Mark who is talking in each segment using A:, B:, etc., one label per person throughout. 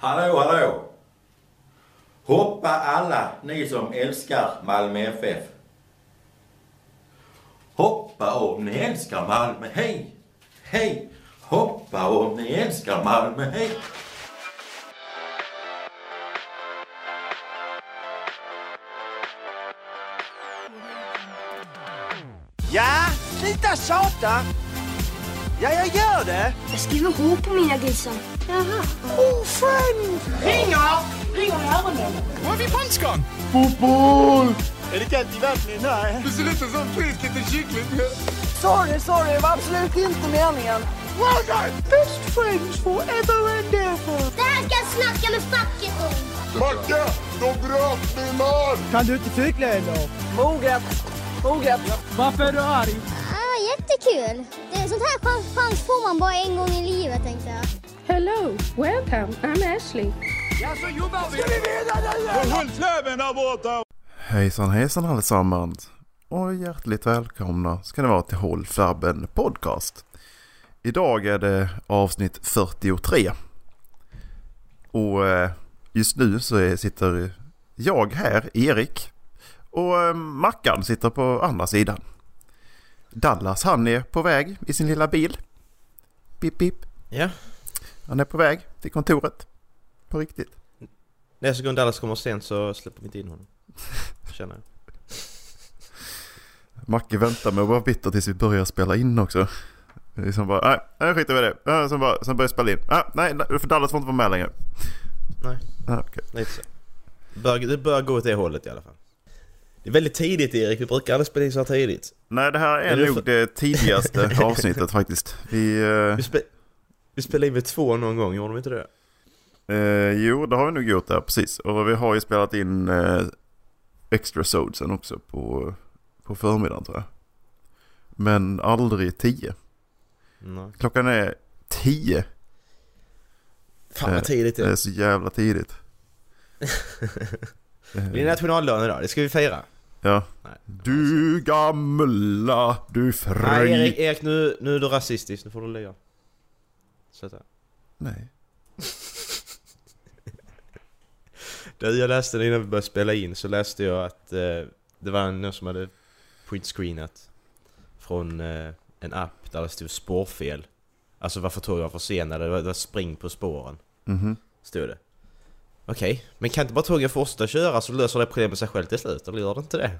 A: Hallå, hallå! Hoppa alla ni som älskar Malmö FF. Hoppa om ni älskar Malmö, hej! Hej! Hoppa om ni älskar Malmö, hej!
B: Ja, sluta tjata! Ja, jag gör det!
C: Jag skriver H på mina grisar. Jaha.
B: Ofriend!
D: Ringer! Ringer i ärenden.
E: Var är vi franskon?
B: Är det kallt i vattnet? Nej.
E: Det ser lite som frisk liten kyckling.
F: Sorry, sorry, det var absolut inte meningen.
B: Well done! Best friends forever and ever!
G: Det här ska jag snacka med facket om.
H: Macke, de bröt min man!
I: Kan du inte cykla eller?
F: Moget, moget.
I: Varför är du arg?
G: Ah, jättekul. Det, sånt här chans, chans får man bara en gång i livet, tänkte jag.
J: Hello, welcome, I'm Ashley.
B: Ja, så jobbar vi! Ska vi vinna nu?
H: Håll släven där borta!
K: Hejsan hejsan allesammans och hjärtligt välkomna ska ni vara till Håll Flabben Podcast. Idag är det avsnitt 43. Och eh, just nu så sitter jag här, Erik, och eh, Mackan sitter på andra sidan. Dallas han är på väg i sin lilla bil. Pip pip.
L: Ja,
K: Han är på väg till kontoret. På riktigt.
L: nästa gång Dallas kommer sent så släpper vi inte in honom. Känner jag.
K: Macke väntar med att vara bitter tills vi börjar spela in också. Det är som bara, nej, nej skiter vi i det. Äh, Sen, bara, sen börjar vi spela in. Äh, nej, nej, för Dallas får inte vara med längre.
L: Nej.
K: Äh, okej.
L: Lite så. Bör, det bör gå åt det hållet i alla fall. Det är väldigt tidigt Erik, vi brukar aldrig spela in så här tidigt.
K: Nej, det här är,
L: Är det
K: nog
L: för-
K: det tidigaste avsnittet faktiskt. Vi, eh,
L: Vi, spe, vi spelade in vid två någon gång, gjorde vi inte det?
K: eh, jo, det har vi nog gjort där, precis. Och vi har ju spelat in eh, extra sodsen också på, på förmiddagen tror jag. Men aldrig tio.
L: Nej.
K: Klockan är tio.
L: Fan vad tidigt det
K: Det är
L: är.
K: så jävla tidigt. Eh,
L: Det är nationaldagen idag, det ska vi fira.
K: Ja.
L: Nej.
K: Du gamla, du
L: Nej Erik,
K: fri...
L: Erik nu, nu är du rasistisk, nu får du lägga. Sluta.
K: Nej.
L: Du, jag läste det innan vi började spela in så läste jag att eh, det var någon som hade printscreenat från eh, en app där det stod spårfel. Alltså varför tog jag försenade? Det var, det var spring på spåren,
K: Mhm.
L: stod det. Okej, men kan inte bara tågen fortsätta köra så löser det problemet sig självt till slut? Eller gör det inte det?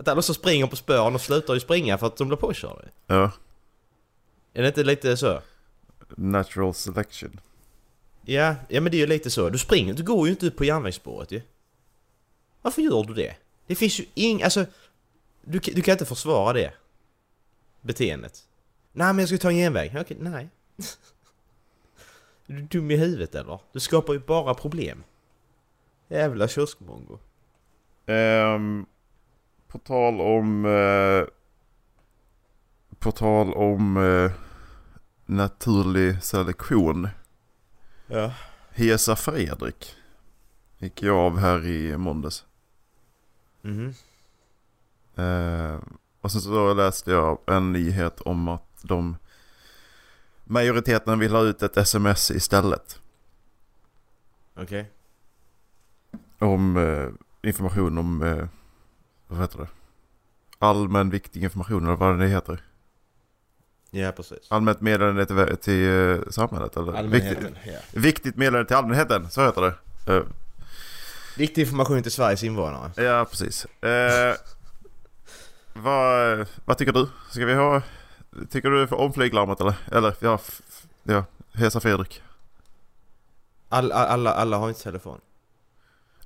L: att alla som springer på spåren och slutar ju springa för att de blir påkörda.
K: Ja.
L: Är det inte lite så?
K: Natural selection.
L: Ja, ja men det är ju lite så. Du springer, du går ju inte ut på järnvägsspåret ju. Varför gör du det? Det finns ju ing... Alltså... Du, kan- du kan inte försvara det. Beteendet. Nej men jag ska ta en genväg. Okej, nej. Är du dum i huvudet eller? Du skapar ju bara problem. Jävla kioskmongo.
K: Ehm, på tal om... Eh, på tal om eh, naturlig selektion.
L: Ja.
K: Hesa Fredrik. Gick jag av här i måndags.
L: Mhm.
K: Eh, och sen så läste jag en nyhet om att de majoriteten vill ha ut ett sms istället.
L: Okej.
K: Om eh, information om, eh, vad heter det? Allmän viktig information eller vad det heter.
L: Ja precis.
K: Allmänt meddelande till, till eh, samhället eller? Viktigt,
L: ja.
K: viktigt meddelande till allmänheten, så heter det. Eh,
L: Viktig information till Sveriges invånare.
K: ja, precis. Eh, vad, vad tycker du? Ska vi ha, tycker du om flyglarmet eller? Eller, ja, f- f- ja, Hesa Fredrik.
L: All, all, alla, alla har inte telefon.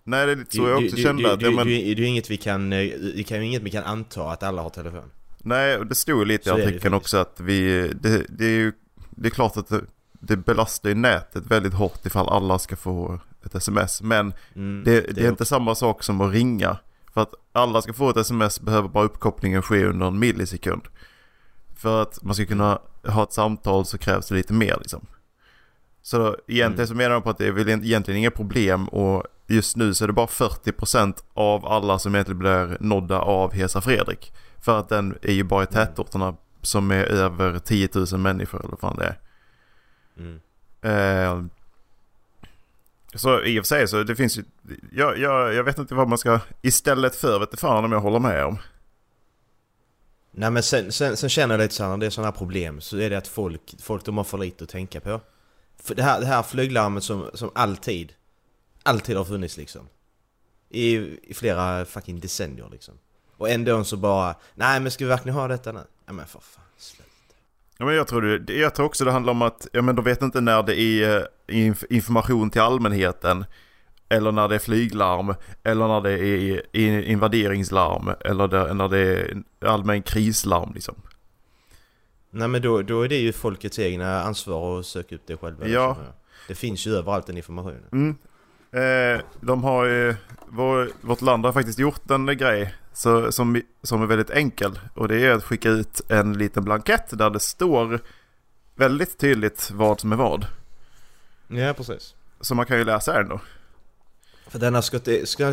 K: Nej, det är lite så
L: Du-
K: jag
L: du-
K: också
L: du-
K: kände.
L: du-
K: att, ja,
L: du-
K: men,
L: du- Det är ju inget vi kan... eh, Det kan ju inget vi kan anta att alla har telefon.
K: nej, det stod lite i
L: Så är det
K: artikeln
L: faktiskt.
K: också att vi... Det, det är ju det är klart att det, det belastar ju nätet väldigt hårt ifall alla ska få ett sms. Men
L: Mm,
K: det, det, är
L: också-
K: inte samma sak som att ringa. För att alla ska få ett sms behöver bara uppkopplingen ske under en millisekund. För att man ska kunna ha ett samtal så krävs det lite mer liksom. Så egentligen
L: Mm.
K: så menar de på att det är väl egentligen inga problem och just nu så är det bara 40% av alla som egentligen blir nådda av Hesa Fredrik. För att den är ju bara i tätorterna som är över 10 000 människor eller vad fan det är.
L: Mm.
K: Eh, Så i och för sig så det finns ju... Jag, jag, jag vet inte vad man ska... Istället för vet du fan om jag håller med om.
L: Nej men sen, sen, sen känner jag lite såhär när det är sådana här problem så är det att folk, folk de har för lite att tänka på. För det här, det här flyglarmet som, som alltid, alltid har funnits liksom. I, I flera fucking decennier liksom. Och ändå så bara, nej men ska vi verkligen ha detta nu? Ja men för fan, sluta.
K: Ja, men jag, tror det, jag tror också det handlar om att ja, men de vet inte när det är eh, inf information till allmänheten. Eller när det är flyglarm. Eller när det är i- invaderingslarm. Eller där, när det är allmän krislarm liksom.
L: Nej men då, då är det ju folkets egna ansvar att söka upp det själva. liksom.
K: Ja.
L: Det finns ju överallt den informationen.
K: Mm. Eh, de har ju, vår, vårt land har faktiskt gjort en grej så, som, som är väldigt enkel. Och det är att skicka ut en liten blankett där det står väldigt tydligt vad som är vad.
L: Ja precis.
K: Så man kan ju läsa den då.
L: För den har ska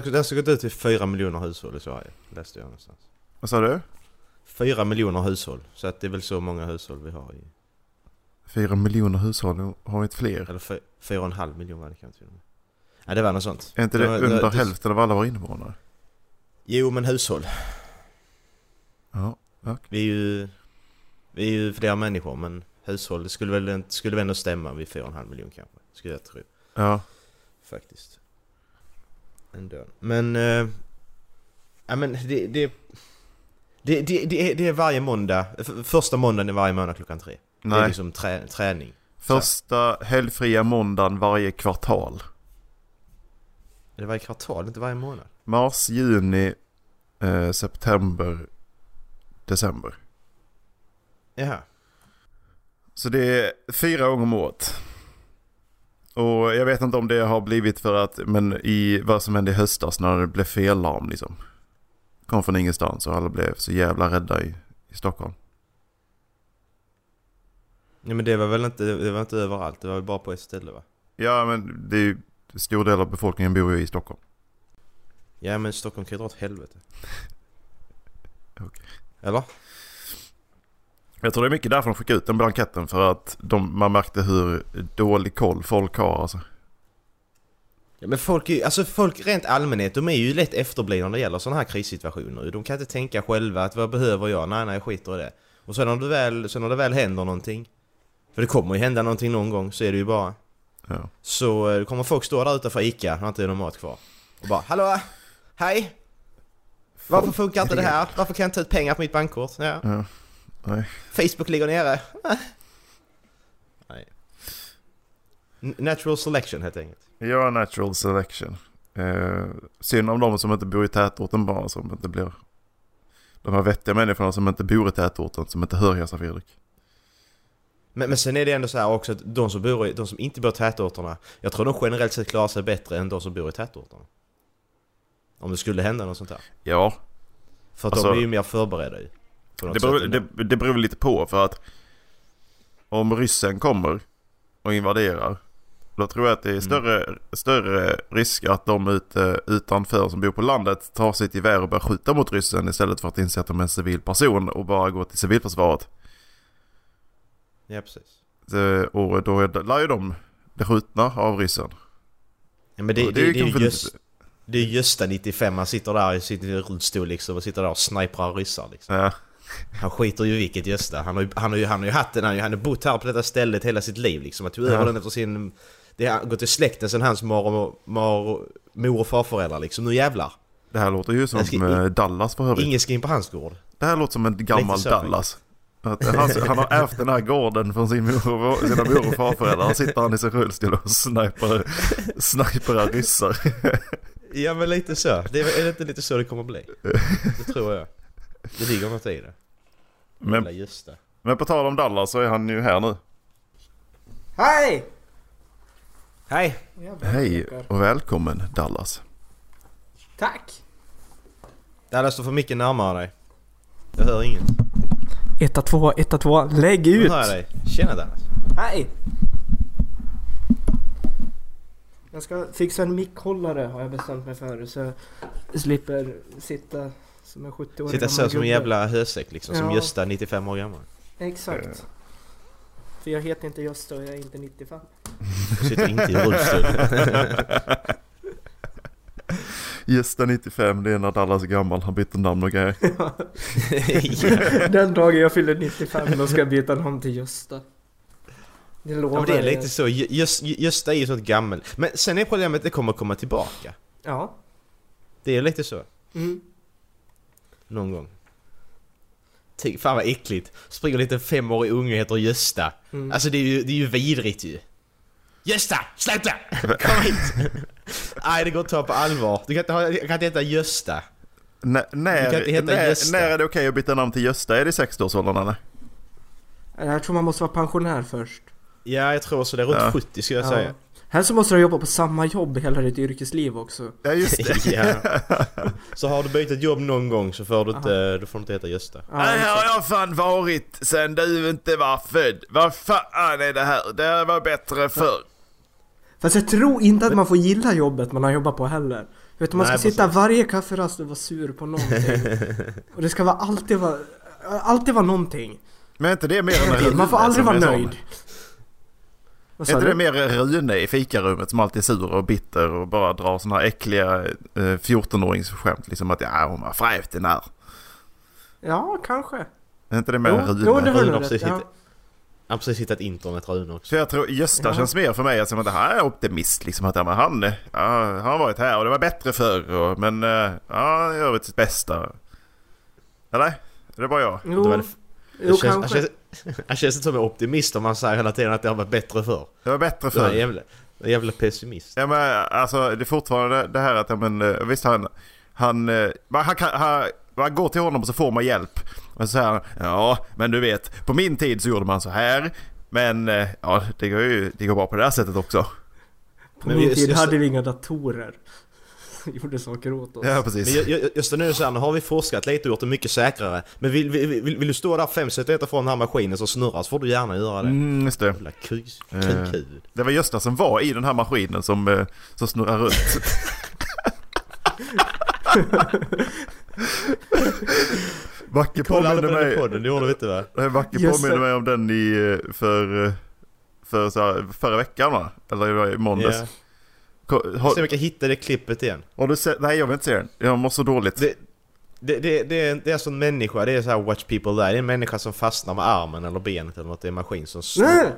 L: den ska gått ut till 4 miljoner hushåll i Sverige, läste jag någonstans.
K: Vad sa du?
L: Fyra miljoner hushåll, så att det är väl så många hushåll vi har i...
K: Fyra miljoner hushåll, har vi inte fler?
L: Eller fy- fyra och en halv miljon var det kanske till och med. Ja, det var något sånt.
K: Är inte det,
L: var-
K: under
L: var-
K: hälften av alla våra invånare?
L: Jo, men hushåll.
K: Ja, ja.
L: Vi är ju... Vi är ju flera människor, men hushåll, det skulle väl, inte- skulle väl ändå stämma vid fyra och en halv miljon kanske. Skulle jag tro,
K: ja.
L: faktiskt. Ändå. Men... Eh, ja, men det... det det, det, det, är, det är varje måndag, f- första måndagen är varje månad klockan tre. Det är
K: Nej.
L: liksom trä, träning.
K: Första helgfria måndagen varje kvartal.
L: Är det varje kvartal, inte varje månad?
K: Mars, juni, eh, september, december.
L: Jaha.
K: Så det är fyra gånger om året. Och jag vet inte om det har blivit för att, men i vad som hände i höstas när det blev fellarm liksom. Kom från ingenstans och alla blev så jävla rädda i, i Stockholm.
L: Ja men det var väl inte, det var inte överallt, det var väl bara på ett ställe va?
K: Ja men det är ju, stor del av befolkningen bor ju i Stockholm.
L: Ja men Stockholm kan ju dra åt helvete.
K: Okej.
L: Eller?
K: Jag tror det är mycket därför de skickade ut den blanketten för att de, man märkte hur dålig koll folk har alltså.
L: Ja men folk är ju- alltså folk rent allmänhet, de är ju lätt efterblivna när det gäller sådana här krissituationer. De kan inte tänka själva att vad behöver jag? Nej nej jag skiter i det. Och sen när det väl, sen när det väl händer någonting. För det kommer ju hända någonting någon gång, så är det ju bara.
K: Ja.
L: Så eh, kommer folk stå där utanför ICA, har inte någon mat kvar. Och bara hallå! Hej! Varför funkar inte det här? Varför kan jag inte ta ut pengar på mitt bankkort? Ja.
K: Ja. Nej.
L: Facebook ligger nere. Nej. N- Natural selection helt enkelt.
K: Ja, natural selection. Eh, synd om de som inte bor i tätorten bara, som inte blir... De här vettiga människorna som inte bor i tätorten, som inte hör Hesa Fredrik.
L: Men, men sen är det ändå så här också att de som, bor i, de som inte bor i tätorterna, jag tror de generellt sett klarar sig bättre än de som bor i tätorterna. Om det skulle hända något sånt där.
K: Ja,
L: För att
K: Alltså-
L: de är ju mer förberedda ju. På något
K: det beror,
L: sätt ändå.
K: det, det beror lite på för att om ryssen kommer och invaderar då tror jag att det
L: Mm.
K: är större, större risk att de ute, utanför som bor på landet tar sitt gevär och börjar skjuta mot ryssen istället för att inse att de är en civil person och bara går till civilförsvaret.
L: Ja precis.
K: Det, och då är, lär ju de bli skjutna av ryssen.
L: Ja, men det, det,
K: Och
L: det,
K: det är
L: är ju
K: kanske
L: just,
K: inte-
L: det är ju Gösta 95, han sitter där i sin rullstol liksom och sitter där och sniprar ryssar liksom.
K: Ja,
L: Han skiter ju i vilket Gösta. Han har ju, han har ju, han har ju hatten, han har ju- han har bott här på detta stället hela sitt liv liksom. Han tog över
K: Ja.
L: den efter sin... Det har gått i släkten sen hans mor och, mor, mor och farföräldrar liksom. Nu jävlar!
K: det här låter ju som
L: Jag ska-
K: eh, Dallas för övrigt.
L: Ingen ska in på hans gård.
K: Det här låter som en gammal
L: Lite så,
K: Dallas. Att han, han har ärvt den här gården från sin mor och, sina mor och farföräldrar. Här sitter han i sin rullstol och sniper, sniperar ryssar.
L: Ja men lite så. Det är, är det inte lite så det kommer bli? Det tror jag. Det ligger något i det. Jävla
K: Men,
L: Gösta.
K: men på tal om Dallas så är han ju här nu.
L: Hej! Hej!
K: Hej och välkommen Dallas.
M: Tack!
L: Dallas står för mycket närmare dig. Jag hör inget.
M: Etta två, etta två. Lägg
L: Nu
M: ut!
L: hör jag dig. Tjena Dallas!
M: Hej! Jag ska fixa en mickhållare har jag bestämt mig för så jag slipper sitta som en 70-årig
L: Sitta så som en
M: gammal gubbe.
L: jävla hösäck liksom. Som
M: Ja.
L: Gösta 95 år gammal.
M: Exakt. För jag heter inte Gösta och jag är inte 95.
L: Jag sitter inte i rullstol.
K: Gästa 95, det är när Dallas är gammal, han byter namn och grejer.
M: Den dagen jag fyller 95 då ska jag byta namn till Gösta. Det lovar
L: Ja, men det är
M: jag.
L: lite så. Gö- Gös- Gösta är ju sånt gammel. Men sen är problemet att det kommer komma tillbaka.
M: Ja.
L: Det är lite så.
M: Mm.
L: Någon gång. Ty, fan vad äckligt. Springer lite femårig unge och heter Gösta.
M: Mm.
L: Alltså det är, ju, det är ju vidrigt ju. Gösta! Sluta! Kom hit! Nej det går inte att ta på allvar. Du kan inte, ha, du kan inte heta Gösta.
K: När,
L: Du kan inte
K: när,
L: heta
K: när,
L: Gösta.
K: när är det okej att byta namn till Gösta? Är det i 60-årsåldern eller?
M: Jag tror man måste vara pensionär först.
L: Ja jag tror så. Det är runt
K: Ja.
L: 70 skulle jag säga.
M: Här så måste du jobba på samma jobb hela ditt yrkesliv också.
K: Ja just det.
L: ja. Så har du bytt ett jobb någon gång så får du inte, då får du inte heta Gösta.
M: Ja,
K: Nej, här har jag fan varit sen du inte var född. Vad fan är det här? Det här var bättre förr.
M: Fast jag tror inte att man får gilla jobbet man har jobbat på heller. Vet du, man ska
L: Nej,
M: sitta varje kafferast och vara sur på någonting. och det ska vara alltid vara, alltid vara någonting.
K: Men är inte det mer än Rune
M: Man får
K: som
M: aldrig vara
K: är sån?
M: nöjd. Vad
K: Är
M: sa
K: inte
M: du?
K: det mer Rune i fikarummet som alltid är sur och bitter och bara drar såna här äckliga eh, 14-åringsskämt? Liksom att ja, hon var frävt den här.
M: Ja, kanske.
K: Är inte det mer Rune?
M: jo,
L: Rune
M: det har du
L: har
M: rätt.
L: precis
M: Ja.
L: hittat, han har precis hittat internet Rune också.
K: För jag tror Gösta
M: Ja.
K: känns mer för mig som att det här är optimist. Liksom att ja, men han, ja, han har varit här och det var bättre förr. Och, men eh, ja, han gör sitt bästa. Eller? Är det bara jag?
M: Jo,
L: Det var det
M: jo
L: det känns, han,
M: kanske.
L: känns, han känns inte som en optimist om han säger hela tiden att det har varit bättre förr.
K: Det var bättre
L: Du är en
K: förr.
L: jävla, en jävla pessimist.
K: Ja, men, alltså, det är fortfarande det här att ja, men, eh, visst han... Han, eh, man, han, kan, han, man går till honom och så får man hjälp. Och så säger han ja men du vet på min tid så gjorde man så här. Men eh, ja det går ju det går bra på det här sättet också.
M: På
L: Men
M: min
L: just-
M: tid
L: just-
M: hade vi inga datorer. Gjorde saker åt oss.
K: Ja
L: Men
K: precis.
L: ju- ju- just nu så här, nu har vi forskat lite och gjort det mycket säkrare. Men vill, vill, vill, vill du stå där fem centimeter från den här maskinen som snurrar så får du gärna göra det.
K: Mm, just det.
L: Jävla kus,
K: Eh.
L: kukhuvud.
K: Det var Gösta som var i den här maskinen som, eh, som snurrar runt. Backe
L: Kolla aldrig
K: påminner
L: på den i
K: mig,
L: podden, det gjorde vi inte va?
K: Nej, Backe
M: Just
K: påminner
M: det.
K: mig om den i, eh, för, eh, för så här, förra veckan va? Eller det var i måndags.
L: Ja.
K: Ko-
L: Se om
K: Har,
L: vi kan hitta det klippet igen.
K: har du sett? Nej jag vill inte se den. Jag mår så dåligt.
L: Det, det, det, det, är, det är alltså en människa, det är så här watch people die. Det är en människa som fastnar med armen eller benet eller något i en maskin som snurrar.
M: Nej!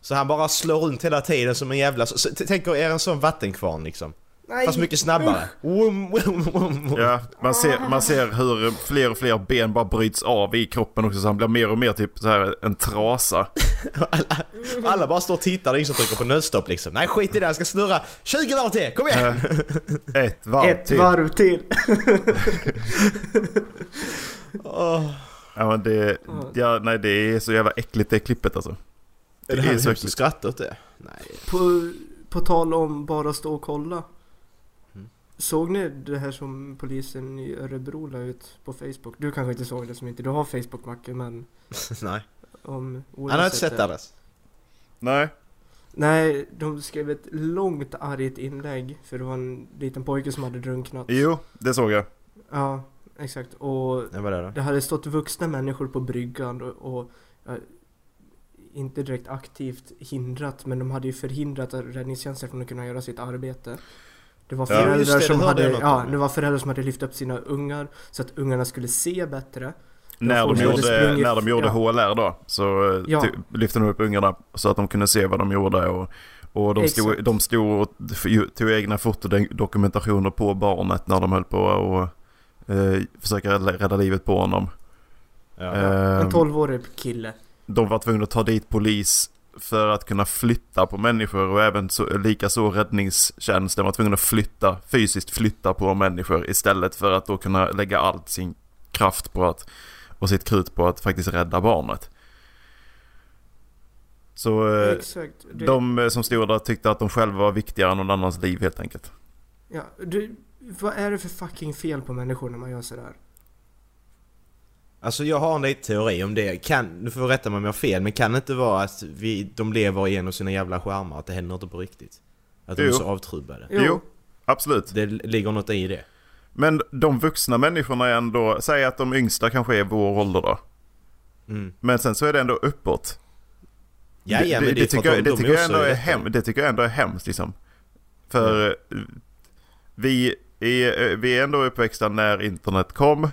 L: Så han bara slår runt hela tiden som en jävla... Så, så, t- tänk er en sån vattenkvarn liksom.
M: Nej!
L: Fast mycket snabbare. Wum, wum, wum, wum.
K: Ja, man ser, man ser hur fler och fler ben bara bryts av i kroppen också så han blir mer och mer typ så här en trasa.
L: Alla, alla bara står och tittar, det är ingen som trycker på nödstopp liksom. Nej skit i det, jag ska snurra 20 varv till, kom igen!
K: Ett varv
M: Ett
K: till.
M: varv till.
L: Åh,
K: Ja men det, ja, nej det är så jävla äckligt det klippet alltså.
L: det är
K: Det
L: det
K: är
L: här
K: så
L: vi måste
K: äckligt.
L: skratta åt det? Nej.
M: På, på tal om bara stå och kolla.
L: Mm.
M: Såg ni det här som polisen i Örebro la ut på Facebook? Du kanske inte såg det som inte du har Facebook Macke men
L: Nej.
M: om Ola
L: Han har inte
M: sett
L: sett Dallas.
K: Nej.
M: Nej, de skrev ett långt argt inlägg för det var en liten pojke som hade drunknat.
K: Jo, det såg jag.
M: Ja, exakt. Och
L: Ja, vad är det då?
M: det hade stått vuxna människor på bryggan och, och ja, inte direkt aktivt hindrat men de hade ju förhindrat att räddningstjänsten från att kunna göra sitt arbete. Det var
L: Ja, just
M: föräldrar,
L: det, det
M: som,
L: hörde jag
M: hade,
L: något
M: ja,
L: om.
M: det var föräldrar som hade lyft upp sina ungar så att ungarna skulle se bättre. Det var
K: När
M: folk
K: de
M: som hade
K: gjorde,
M: sprungit-
K: när de gjorde
M: ja.
K: HLR då så eh,
M: Ja.
K: ty, lyfte de upp ungarna så att de kunde se vad de gjorde och, och de, stod,
M: Exakt.
K: de stod och f- tog egna fotodokumentationer på barnet när de höll på och eh, försöka rädda, rädda livet på honom.
L: Ja.
K: Eh,
M: En 12-årig kille.
K: de var tvungna att ta dit polis för att kunna flytta på människor och även så, lika så räddningstjänsten var tvungna att flytta, fysiskt flytta på människor istället för att då kunna lägga all sin kraft på att och sitt krut på att faktiskt rädda barnet. Så eh,
M: Exakt. Det,
K: de eh, som stod där tyckte att de själva var viktigare än någon annans liv helt enkelt.
M: ja, det, vad är det för fucking fel på människor när man gör sådär?
L: Alltså jag har en liten teori om det. Kan, du får rätta mig om jag har fel, men kan det inte vara att vi, de lever igenom sina jävla skärmar? Att det händer inte på riktigt? Att de är
K: Jo.
L: så avtrubbade?
M: Jo.
K: absolut.
L: Det ligger något i det.
K: Men de vuxna människorna är ändå, säg att de yngsta kanske är vår ålder då.
L: Mm.
K: Men sen så är det ändå uppåt.
L: Ja, ja, men det, är för att
K: tycker, jag,
L: de-
K: det
L: de
K: tycker jag
L: också
K: ändå
L: är
K: är
L: detta.
K: hem, det tycker jag ändå är hemskt liksom. För
L: Mm.
K: eh, vi är, eh, vi är ändå uppväxta när internet kom.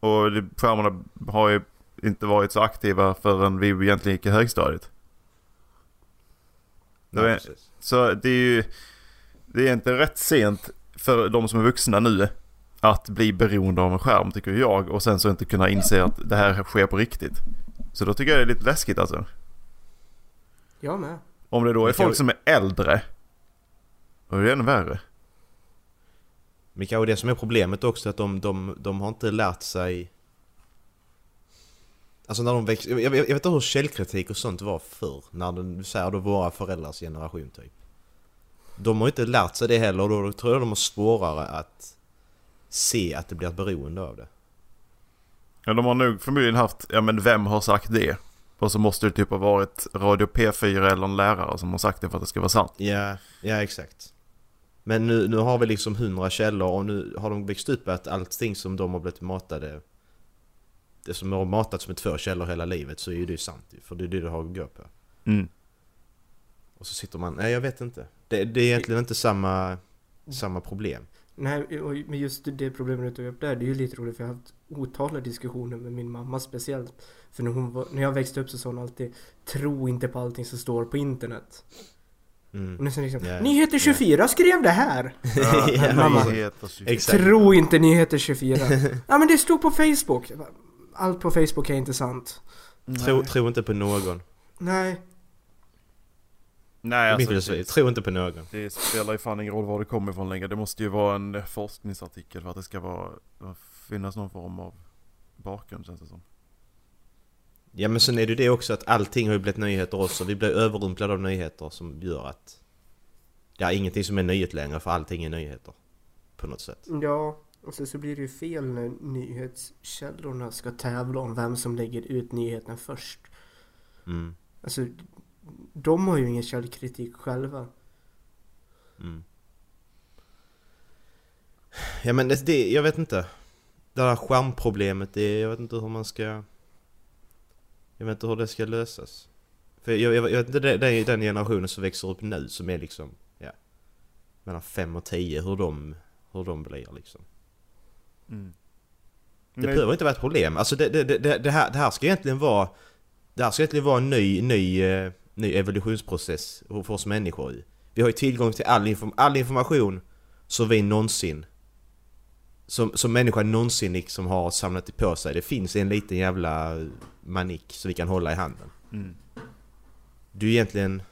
K: Och det- skärmarna har ju inte varit så aktiva förrän vi egentligen gick i högstadiet. Det
L: Nej,
K: är-
L: precis.
K: så det är ju det är inte rätt sent för de som är vuxna nu att bli beroende av en skärm tycker jag och sen så inte kunna inse att det här sker på riktigt. Så då tycker jag det är lite läskigt alltså.
M: Jag med.
K: Om det då är
L: Men kan
K: folk
L: vi-
K: som är äldre. Då är det ännu värre.
L: Men kanske det som är problemet också att de, de, de har inte lärt sig... Alltså när de växte... Jag, jag, jag vet inte hur källkritik och sånt var förr. När den, så här, då våra föräldrars generation typ. De har ju inte lärt sig det heller och då tror jag de har svårare att se att det blir ett beroende av det.
K: Ja, de har nog förmodligen haft, ja men vem har sagt det? Och så måste det typ ha varit Radio P4 eller en lärare som har sagt det för att det ska vara sant.
L: Ja, ja exakt. Men nu, nu har vi liksom hundra källor och nu har de växt upp att allting som de har blivit matade Det som har matats med två källor hela livet så är ju det sant ju, för det är det du har att gå på.
K: Mm.
L: Och så sitter man, nej jag vet inte. Det, det är egentligen inte samma, samma problem.
M: Nej, och- men just det problemet du tog upp där, det är ju lite roligt för jag har haft otaliga diskussioner med min mamma speciellt. För när, hon var, när jag växte upp så sa hon alltid Tro inte på allting som står på internet. Och nu säger liksom
L: Mm. Ja.
M: Nyheter 24 skrev det här!
L: Ja,
M: mamma,
K: Nyheter 24.
L: Exakt.
M: tro inte Nyheter 24. ja men det stod på Facebook. Jag bara, Allt på Facebook är inte sant.
L: Tro, tro inte på någon.
M: Nej,
K: Nej, alltså,
L: Mitt i det så- Tro inte på någon.
K: Det spelar ju fan ingen roll var det kommer ifrån längre. Det måste ju vara en forskningsartikel för att det ska vara, finnas någon form av bakgrund känns det som.
L: Ja men sen är det ju det också att allting har ju blivit nyheter också. Vi blir överrumplade av nyheter som gör att det är ingenting som är nyhet längre för allting är nyheter. På något sätt.
M: ja. Och sen så blir det ju fel när nyhetskällorna ska tävla om vem som lägger ut nyheten först.
L: Mm.
M: Alltså, de har ju ingen källkritik själva.
L: Mm. Ja men det, det, jag vet inte. Det där skärmproblemet, det, jag vet inte hur man ska... Jag vet inte hur det ska lösas. För jag, jag, jag vet inte, det, det är den generationen som växer upp nu som är liksom, ja. Mellan 5 och 10, hur de, hur de blir liksom. Det behöver inte vara ett problem. Alltså det, det, det, det, här, det här ska egentligen vara... Det här ska egentligen vara en ny, ny, eh, ny evolutionsprocess för oss människor. i. Vi har ju tillgång till all, inform all information som vi någonsin... Som, som människan någonsin liksom har samlat på sig. Det finns en liten jävla manik som vi kan hålla i handen.
K: Mm.
L: Du är egentligen...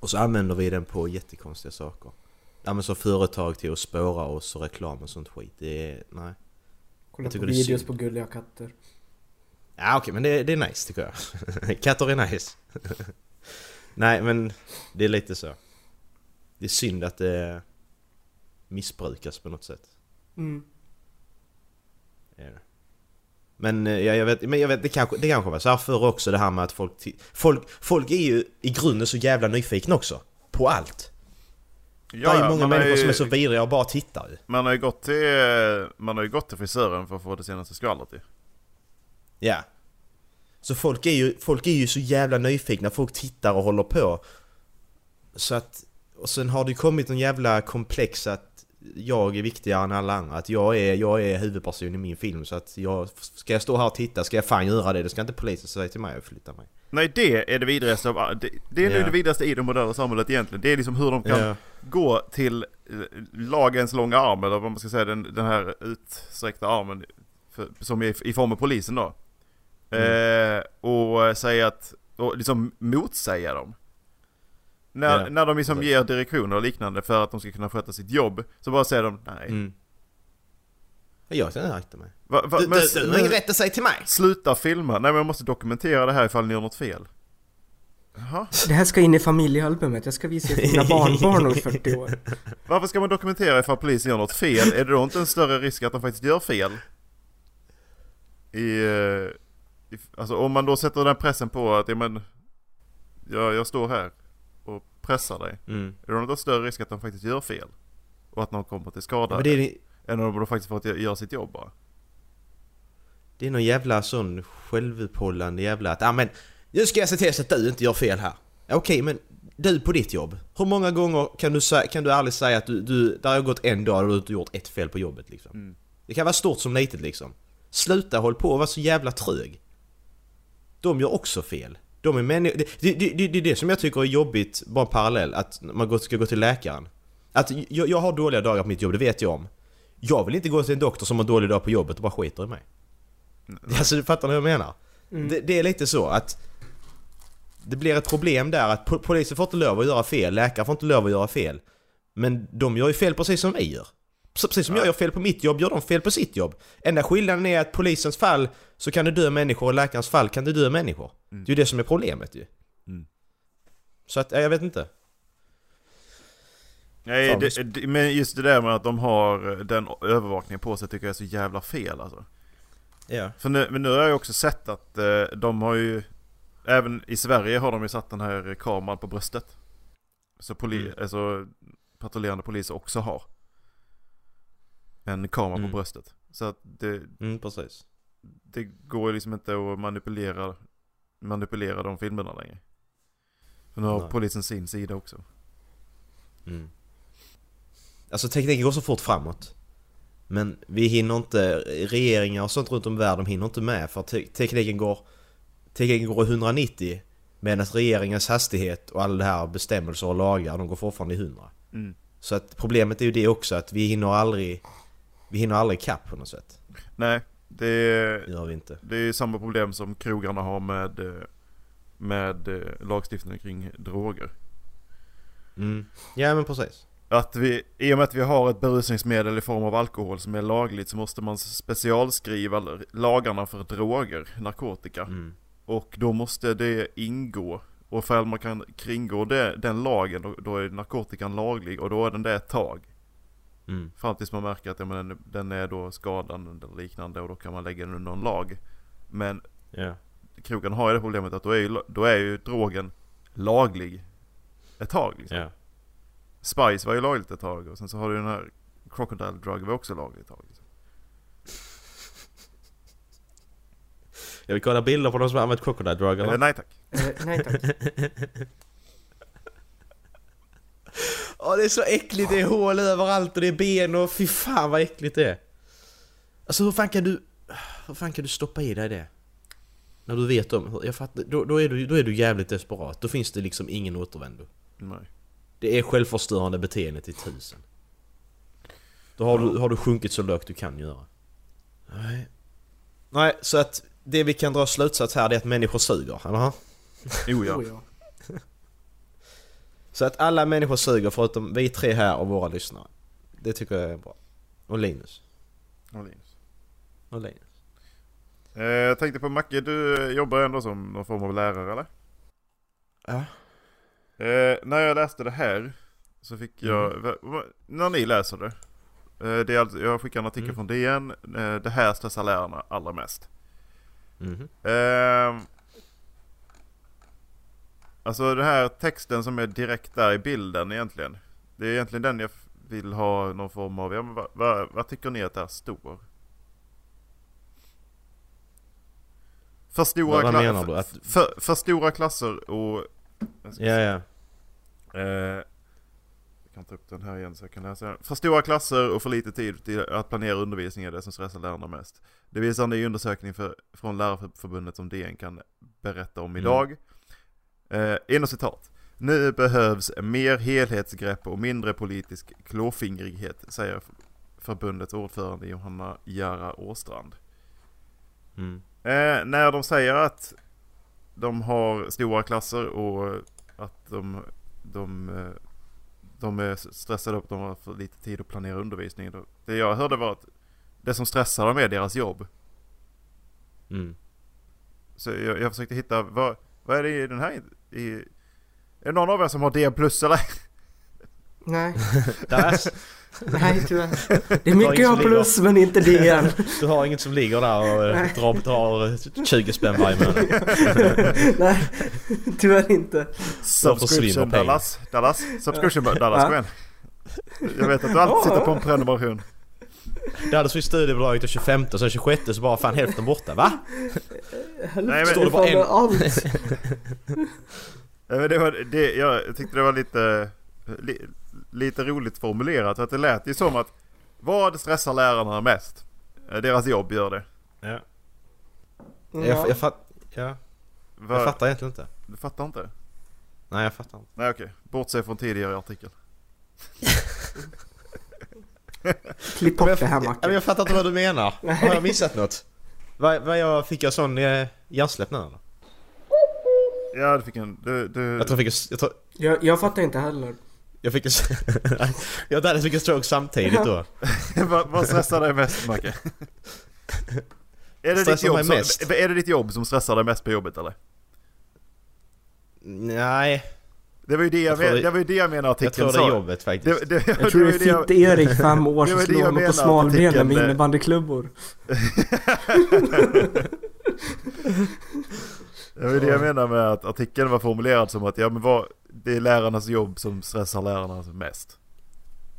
L: Och så använder vi den på jättekonstiga saker. Ja men som företag till att spåra oss och reklam och sånt skit. Det är... Nej.
M: Kolla
L: Jag
M: på
L: tycker det är
M: videos
L: synd.
M: på gulliga katter.
L: Ja okej, men det, det är nice tycker jag. Katter är nice. Nej men det är lite så. Det är synd att det missbrukas på något sätt.
M: Mm.
L: Är det. Men, eh, ja, jag vet, men jag vet, det kanske, det kanske var så här förr också det här med att folk, ti- folk... Folk är ju i grunden så jävla nyfikna också. På allt. det är ju många människor som är så vidriga och bara tittar ju.
K: Man har ju gått till, man har ju gått till frisören för att få det senaste skvallret ju.
L: Ja. Så folk är, ju, folk är ju så jävla nyfikna, folk tittar och håller på. Så att... Och sen har det ju kommit en jävla komplex att jag är viktigare än alla andra. Att jag är, jag är huvudperson i min film så att jag... Ska jag stå här och titta ska jag fan göra det. Det ska inte polisen säga till mig att flytta mig.
K: Nej det är det vidrigaste av det, det är nu
L: Ja.
K: det vidrigaste i det moderna samhället egentligen. Det är liksom hur de kan
L: Ja.
K: gå till eh, lagens långa arm eller vad man ska säga den, den här utsträckta armen för, som är i, i form av polisen då.
L: Mm.
K: Eh, och säga att, och liksom motsäga dem. När,
L: Ja.
K: när de liksom
L: Precis.
K: ger direktioner och liknande för att de ska kunna sköta sitt jobb så bara säger de nej.
L: Mm. Jag tänker akta mig.
K: Va, va,
L: Du,
K: men-
L: du, du har ingen rätt att säga till mig!
K: Sluta filma, nej men jag måste dokumentera det här ifall ni gör något fel. Jaha.
M: Det här ska in i familjealbumet. Jag ska visa det för mina barnbarn om 40 år.
K: Varför ska man dokumentera ifall polisen gör något fel? Är det då inte en större risk att de faktiskt gör fel? I, eh, i, alltså om man då sätter den pressen på att ja, men, jag, jag står här och pressar dig.
L: Mm.
K: Är det då inte en större risk att de faktiskt gör fel? Och att någon kommer till skada?
L: Men det, är,
K: Än om de faktiskt får göra sitt jobb bara?
L: det är någon jävla sån självupphållande jävla att ah, men Nu ska jag se till så att du inte gör fel här. Okej, men du på ditt jobb. Hur många gånger kan du, sä- kan du ärligt säga att du, du, där har gått en dag och du har inte gjort ett fel på jobbet liksom? Det kan vara stort som litet liksom. Sluta håll på och vara så jävla trög. De gör också fel. De är människor. Det, det, det, det, det är det som jag tycker är jobbigt, bara en parallell, att man går- ska gå till läkaren. Att jag, jag har dåliga dagar på mitt jobb, det vet jag om. Jag vill inte gå till en doktor som har dålig dag på jobbet och bara skiter i mig. Alltså du fattar vad jag menar? Det, det är lite så att det blir ett problem där att po- polisen får inte lov att göra fel, läkare får inte lov att göra fel. Men de gör ju fel precis som vi gör. Så Precis som jag gör fel på mitt jobb gör de fel på sitt jobb. Enda skillnaden är att polisens fall så kan det dö människor och läkarens fall kan det dö människor. Det är ju det som är problemet ju.
K: Mm.
L: Så att, ja, jag vet inte.
K: Nej,
L: Fan,
K: det, det, men just det där med att de har den övervakningen på sig tycker jag är så jävla fel alltså.
L: Ja.
K: För nu, men nu har jag också sett att eh, de har ju... Även i Sverige har de ju satt den här kameran på bröstet. Så poli,
L: Mm.
K: alltså, patrullerande poliser också har. En kamera
L: Mm.
K: på bröstet. Så att det,
L: Mm, precis.
K: det går ju liksom inte att manipulera, manipulera de filmerna längre. För nu har
L: Nej.
K: polisen sin sida också.
L: Mm. Alltså tekniken går så fort framåt. Men vi hinner inte, regeringar och sånt runt om i världen hinner inte med för te- tekniken går tekniken går i 190 medan regeringens hastighet och alla de här bestämmelser och lagar de går fortfarande i 100.
K: Mm.
L: Så att problemet är ju det också att vi hinner aldrig vi hinner aldrig kapp på något sätt.
K: Nej, det är,
L: Gör vi inte.
K: det är samma problem som krogarna har med, eh, med eh, lagstiftningen kring droger.
L: Mm. Ja men precis.
K: Att vi, i och med att vi har ett berusningsmedel i form av alkohol som är lagligt så måste man specialskriva l- lagarna för droger, narkotika.
L: Mm.
K: Och då måste det ingå. Och för att man kan kringgå det, den lagen, då, då är narkotikan laglig och då är den det ett tag.
L: Mm.
K: Fram tills man märker att ja, men den, den är då skadande eller liknande och då kan man lägga den under en lag. Men
L: Ja.
K: krogen har ju det problemet att då är ju, då är ju drogen laglig ett tag. Liksom.
L: Ja.
K: Spice var ju lagligt ett tag och sen så har du den här Crocodile Drug var också lagligt ett tag. Liksom.
L: Jag vill kolla bilder på de som har använt crocodile drug
K: Eller,
L: eller?
K: nej tack.
M: Eh, nej tack.
L: Åh det är så äckligt, det är hål överallt och det är ben och fy fan vad äckligt det är. Alltså hur fan kan du... Hur fan kan du stoppa i dig det? När du vet om... Jag fattar, då, då, är du, då är du jävligt desperat. Då finns det liksom ingen återvändo.
K: Nej.
L: Det är självförstörande beteende till tusen. Då har du, har du sjunkit så lågt du kan göra. Nej. Nej, så att det vi kan dra slutsats här det är att människor suger, eller hur?
K: Jo ja.
M: Oh, ja.
L: Så att alla människor suger förutom vi tre här och våra lyssnare. Det tycker jag är bra. Och Linus.
K: Och Linus.
L: Och Linus.
K: Eh, Jag tänkte på Macke, du jobbar ändå som någon form av lärare eller?
L: Ja.
K: Eh, när jag läste det här så fick jag,
L: Mm.
K: va- va- när ni läser det. Eh, det är alltså, jag skickar en artikel
L: Mm.
K: från DN, eh, det här stressar lärarna allra mest.
L: Mhm.
K: Ehm. alltså den här texten som är direkt där i bilden egentligen. Det är egentligen den jag f- vill ha någon form av, ja, men vad, vad, vad tycker ni att det här står? För stora,
L: Vad
K: kla-
L: menar du? Att-
K: för, för stora klasser och... jag ska
L: Ja, ja.
K: Eh, jag kan ta upp den här igen så jag kan läsa den. För stora klasser och för lite tid till att planera undervisning är det som stressar lärarna mest. Det visar en ny undersökning för, från Lärarförbundet som DN kan berätta om idag. Eh, inom citat. Nu behövs mer helhetsgrepp och mindre politisk klåfingrighet, säger förbundets ordförande Johanna Jara Åstrand.
L: Mm.
K: Eh, när de säger att de har stora klasser och att de, de, eh, de är stressade upp, de har för lite tid att planera undervisningen. Då- Det jag hörde var att det som stressar dem är deras jobb.
L: Mm.
K: Så jag, jag försökte hitta, vad, vad är det i den här... I, är det någon av er som har D plus eller?
M: Nej,
L: Där,
M: nej tyvärr. Det är
L: Det var
M: mycket jag har
L: insulin
M: plus men inte det än.
L: du har inget som ligger där och eh, drar, drar eh, 20 spänn varje månad.
M: nej, tyvärr inte.
K: Subscription
L: pengar.
K: Dallas, Dallas, subscription Dallas,
M: Ja.
K: kom igen. Jag vet att du alltid sitter på en prenumeration.
L: Det hade så studiebidraget till 25 och sen 26 så bara fan hälften borta, va?
M: Hälften står det bara en. allt.
K: Nej, men det var, det, jag tyckte det var lite, li, lite roligt formulerat. För att det lät ju som att vad stressar lärarna mest? Eh, Deras jobb gör det.
L: Ja. Jag, jag, fatt, ja.
K: Var,
L: jag fattar egentligen inte.
K: Du fattar inte?
L: Nej, jag fattar inte.
K: Nej, okej. Bortse från tidigare artikel.
M: Klipp bort det här
L: jag,
M: Macke.
L: men jag fattar inte vad du menar. Har jag missat något? Vad, vad jag, fick jag sån eh, hjärnsläpp nu eller?
K: Ja, du fick en... Du, du...
L: Jag tror jag fick en... Jag, tror,
M: Jag, jag fattar inte heller.
L: jag fick en... jag hade fick en stroke samtidigt då.
K: vad, vad stressar dig mest Macke? Är det, ditt
L: Stressar
K: jobb
L: mig
K: som,
L: mest?
K: är det ditt jobb som stressar dig mest på jobbet eller?
L: Nej,
K: Det var ju det jag,
L: Jag tror
K: men,
L: det-
K: det, var ju det jag menade
L: jag
K: artikeln
L: tror det är jobbet faktiskt.
K: Det, det,
M: Jag tror
K: det var
M: det är
K: ju det jag-
M: Fitt-Erik fem år
K: Det
M: som
K: var det
M: slår
K: jag
M: honom på
K: menade,
M: smalbenen med
K: artikeln.
M: innebandyklubbor.
K: Det var ju det jag menar med att artikeln var formulerad som att ja, men vad, det är lärarnas jobb som stressar lärarna mest.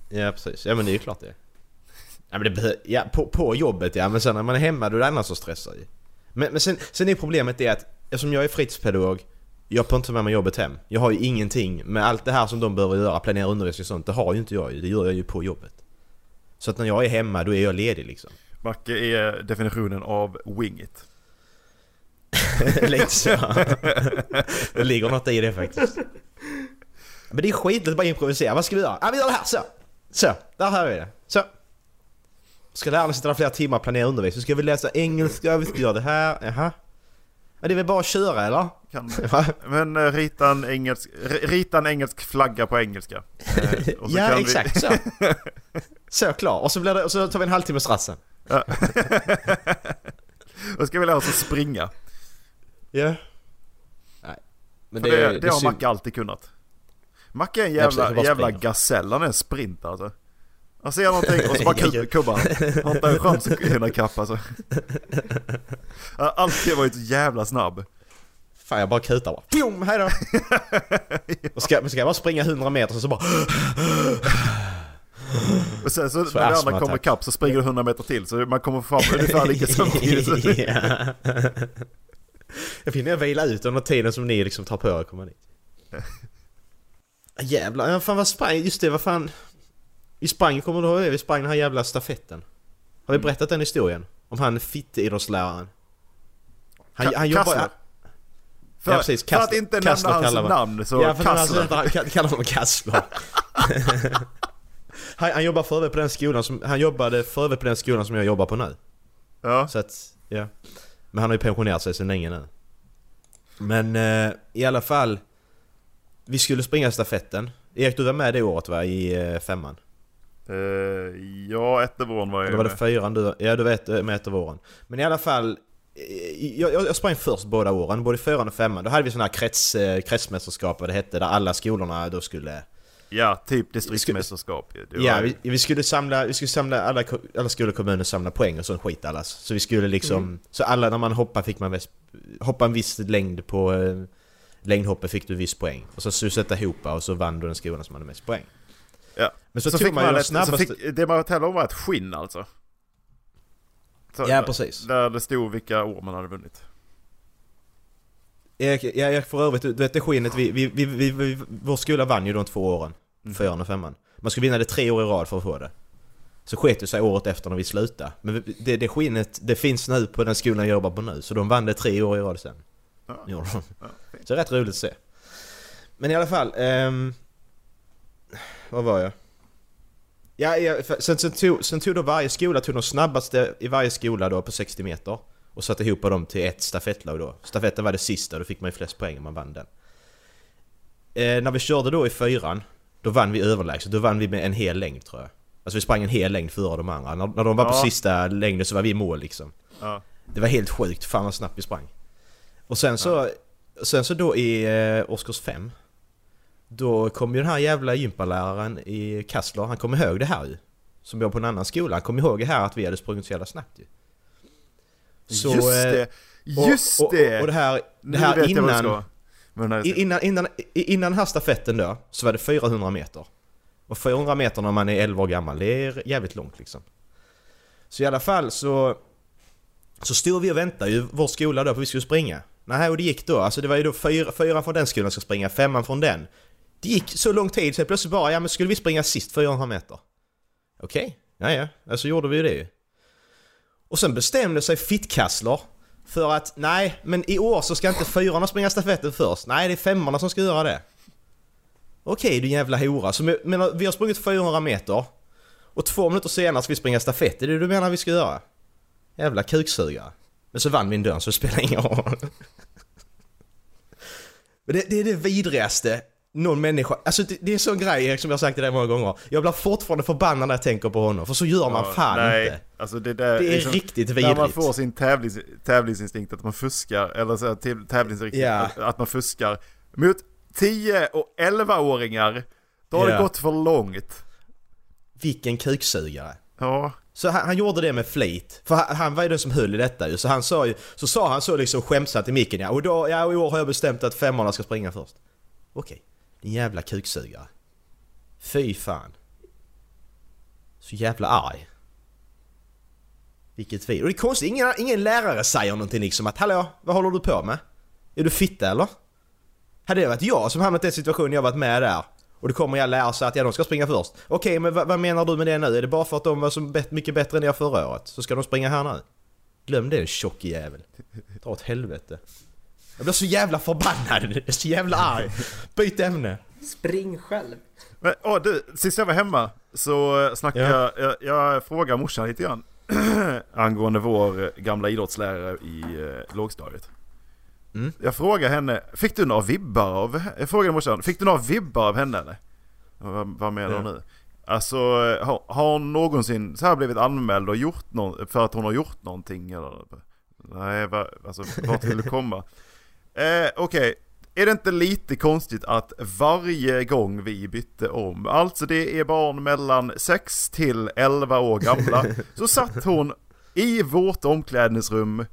L: Ja precis, ja men det är ju klart det. Ja men det behö- ja, på, på jobbet ja, men sen när man är hemma då är det annars som stressar ju. Men, men sen, sen är problemet det att eftersom jag är fritidspedagog, jag får inte ta med mig jobbet hem. Jag har ju ingenting med allt det här som de behöver göra, planera undervisning och sånt, det har ju inte jag ju. Det gör jag ju på jobbet. Så att när jag är hemma då är jag ledig liksom.
K: Macke är definitionen av wing it.
L: Lite så. Liksom. det ligger något i det faktiskt. Men det är skitlätt att bara improvisera. Vad ska vi göra? Ja, vi gör det här så. Så, där har vi det. Så. Ska lärarna sitta där flera timmar och planera undervisning? Ska vi läsa engelska? Vi ska göra det här? Jaha. Ja, det är väl bara att köra eller?
K: Kan,
L: Va?
K: men eh, rita en, engelsk, r- rita en engelsk flagga på engelska. Eh, och så
L: ja,
K: kan vi-
L: exakt så. Så klar. Och så, blir det, och så tar vi en halvtimmes rassen.
K: Ja. Då ska vi lära oss att springa.
L: Ja. Nej. Men
K: För
L: det,
K: det, det,
L: är
K: har
L: synd.
K: Macke alltid kunnat. Macke är en
L: precis,
K: jävla,
L: jag bara
K: jävla
L: springer.
K: gasell, han är en sprinter alltså. Han ser någonting och så bara kub- kubbar han. Har inte en chans att hinna ikapp alltså. Han har alltid varit så jävla snabb.
L: Fan jag bara kutar bara. Fjom, hejdå! Och ska, men ska jag bara springa 100 meter och så bara...
K: Och sen så,
L: Så
K: när det andra
L: astmaattack.
K: kommer ikapp så springer du 100 meter till så man kommer fram ungefär lika samtidigt.
L: Ja. Jag finner jag vila ut under tiden som ni liksom tar på er att komma dit. Jävlar, ja, fan vad sprang, just det vad fan. Vi sprang, kommer du ihåg det? Vi sprang den här jävla stafetten. Har vi berättat den historien? Om han fitteidrottsläraren. Han,
K: Ka-
L: han jobbar...
K: Kassler.
L: Han,
K: För,
L: Ja, precis,
K: för att
L: Kassler-
K: inte
L: Kassler
K: nämna hans
L: kallar man-
K: namn så
L: ja, för att
K: Kassler.
L: Han, han kallar honom Kassler. han, han jobbar för övrigt på den skolan som... Han jobbade för övrigt på den skolan som jag jobbar på nu.
K: Ja,
L: Så att, ja. Men han har ju pensionerat sig sedan länge nu. Men eh, i alla fall. Vi skulle springa stafetten. Erik du var med det året va? I eh, femman?
K: Eh, ja ett av våren var jag
L: Eller
K: ju
L: var det
K: med.
L: fyran du? Ja du vet, eh, med ett av åren. Men i alla fall. eh, Jag, jag, jag sprang först båda åren, både fyran och femman. Då hade vi sådana här krets, eh, kretsmästerskap vad det hette, där alla skolorna då skulle...
K: Ja, typ distriktsmästerskap ju. Det var
L: Ja,
K: ju-
L: vi, vi skulle samla, vi skulle samla alla, ko- alla skolor och kommuner samla poäng och sån skit allas. Så vi skulle liksom, så alla när man hoppar fick man väs- hoppa en viss längd på eh, längdhoppet fick du viss poäng. Och så skulle du sätta ihop och så vann du den skolan som hade mest poäng.
K: Ja.
L: Men så, tog man ju den
K: ett,
L: snabbaste...
K: så fick, det man tävlade om var ett skinn alltså. Så-
L: Ja, precis.
K: Där det stod vilka år man hade vunnit.
L: Erik, ja, Erik för övrigt, du vet det skinnet, vi, vi, vi, vi, vi, vår skola vann ju de två åren. Fyran och femman. Man skulle vinna det tre år i rad för att få det. Så sket det sig året efter när vi slutade. Men vi- det, det skinnet, det finns nu på den skolan jag jobbar på nu. Så de vann det tre år i rad sen.
K: Ja.
L: Gjorde de. Så det är rätt roligt att se. Men i alla fall, ehm, Vad var jag? Ja, ja, för- sen, sen, tog, sen tog då varje skola tog de snabbaste i varje skola då på 60 meter och satte ihop dem till ett stafettlag då. Stafetten var det sista, då fick man ju flest poäng om man vann den. Eh, när vi körde då i fyran, då vann vi överlägset. Då vann vi med en hel längd tror jag. Alltså vi sprang en hel längd före de andra. När, när de var på
K: Ja.
L: sista längden så var vi i mål liksom.
K: Ja.
L: Det var helt sjukt, fan vad snabbt vi sprang. Och sen så, sen så då i eh, årskurs 5 Då kom ju den här jävla gympaläraren i Kassler, han kom ihåg det här ju. Som var på en annan skola, han kom ihåg det här att vi hade sprungit så jävla snabbt ju. Så,
K: Just
L: eh,
K: det!
L: och-
K: Just
L: och, och,
K: det!
L: och, det här, det
K: nu
L: här
K: vet jag vad du
L: innan,
K: ska. Men den här,
L: i- innan, innan, i- innan den här stafetten då, så var det 400 meter. Och 400 meter när man är 11 år gammal, det är jävligt långt liksom. Så i alla fall så... Så stod vi och väntade ju vår skola då på vi skulle springa. Nej, och det gick då. Alltså det var ju då fyra, fyran från den skolan ska springa, femman från den. Det gick så lång tid så jag plötsligt bara, ja men skulle vi springa sist 400 meter? Okej, ja ja, ja, så gjorde vi ju det ju. Och sen bestämde sig Fittkassler för att nej, men i år så ska inte fyrorna springa stafetten först. Nej, det är femmorna som ska göra det. Okej du jävla hora. Så men, men, vi har sprungit 400 meter och två minuter senare ska vi springa stafett. Är det du menar vi ska göra? Jävla kuksugare. Men så vann vi en dörr så det spelar ingen roll. Men det, det är det vidrigaste någon människa, alltså det, det är en sån grej Erik som jag har sagt till dig många gånger. Jag blir fortfarande förbannad när jag tänker på honom för så gör man ja, fan nej. inte.
K: Alltså det, där,
L: det är liksom, riktigt vidrigt. När
K: man får sin tävlings, tävlingsinstinkt att man fuskar, eller så här, tävlingsinstinkt yeah. att, att man fuskar. Mot 10 och 11-åringar, då har yeah. det gått för långt.
L: Vilken kuksugare.
K: Ja.
L: Så han, han, gjorde det med flit, för han, han, var ju den som höll i detta ju. Så han sa ju, så sa han så liksom skämtsamt i micken ja, och då, ja, och i år har jag bestämt att femmorna ska springa först. Okej, din jävla kuksugare. Fy fan. Så jävla arg. Vilket vi. Och det är konstigt, ingen, ingen lärare säger någonting liksom att hallå, vad håller du på med? Är du fitta eller? Hade det varit jag som hamnat i den situationen jag varit med där och det kommer jag lära sig att ja, de ska springa först. Okej, okay, men vad, vad, menar du med det nu? Är det bara för att de var så bet- mycket bättre än jag förra året? Så ska de springa här nu? Glöm det tjocke jävel. Dra åt helvete. Jag blir så jävla förbannad, jag är så jävla arg. Byt ämne.
M: Spring själv.
K: Men, åh, du, sist jag var hemma så eh, snackade ja. jag, jag, jag frågade morsan lite grann angående vår eh, gamla idrottslärare i eh, lågstadiet. Mm. Jag frågade henne, fick du några vibbar av Jag frågade morsan, fick du några vibbar av henne eller? Vad, vad menar du ja. nu? Alltså, har, har hon någonsin så här blivit anmäld och gjort någon, för att hon har gjort någonting eller? Nej, va, alltså vart vill du komma? eh, Okej, okay. är det inte lite konstigt att varje gång vi bytte om, alltså det är barn mellan 6 till 11 år gamla, så satt hon i vårt omklädningsrum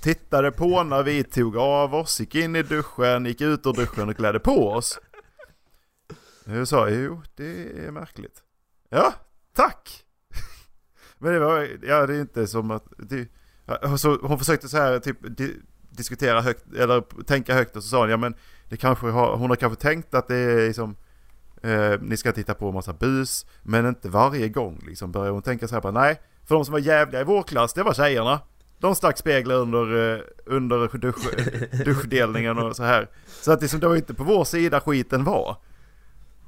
K: tittade på när vi tog av oss, gick in i duschen, gick ut ur duschen och klädde på oss. Jag sa jo, det är märkligt. Ja, tack! Men det var, ja det är inte som att, det, så hon försökte så här typ diskutera högt, eller tänka högt och så sa hon ja men det kanske har, hon har kanske tänkt att det är liksom eh, ni ska titta på en massa bus, men inte varje gång liksom börjar hon tänka så här på nej, för de som var jävliga i vår klass det var tjejerna. De stack speglar under, eh, under dusch, duschdelningen och så här. Så att liksom, det var inte på vår sida skiten var.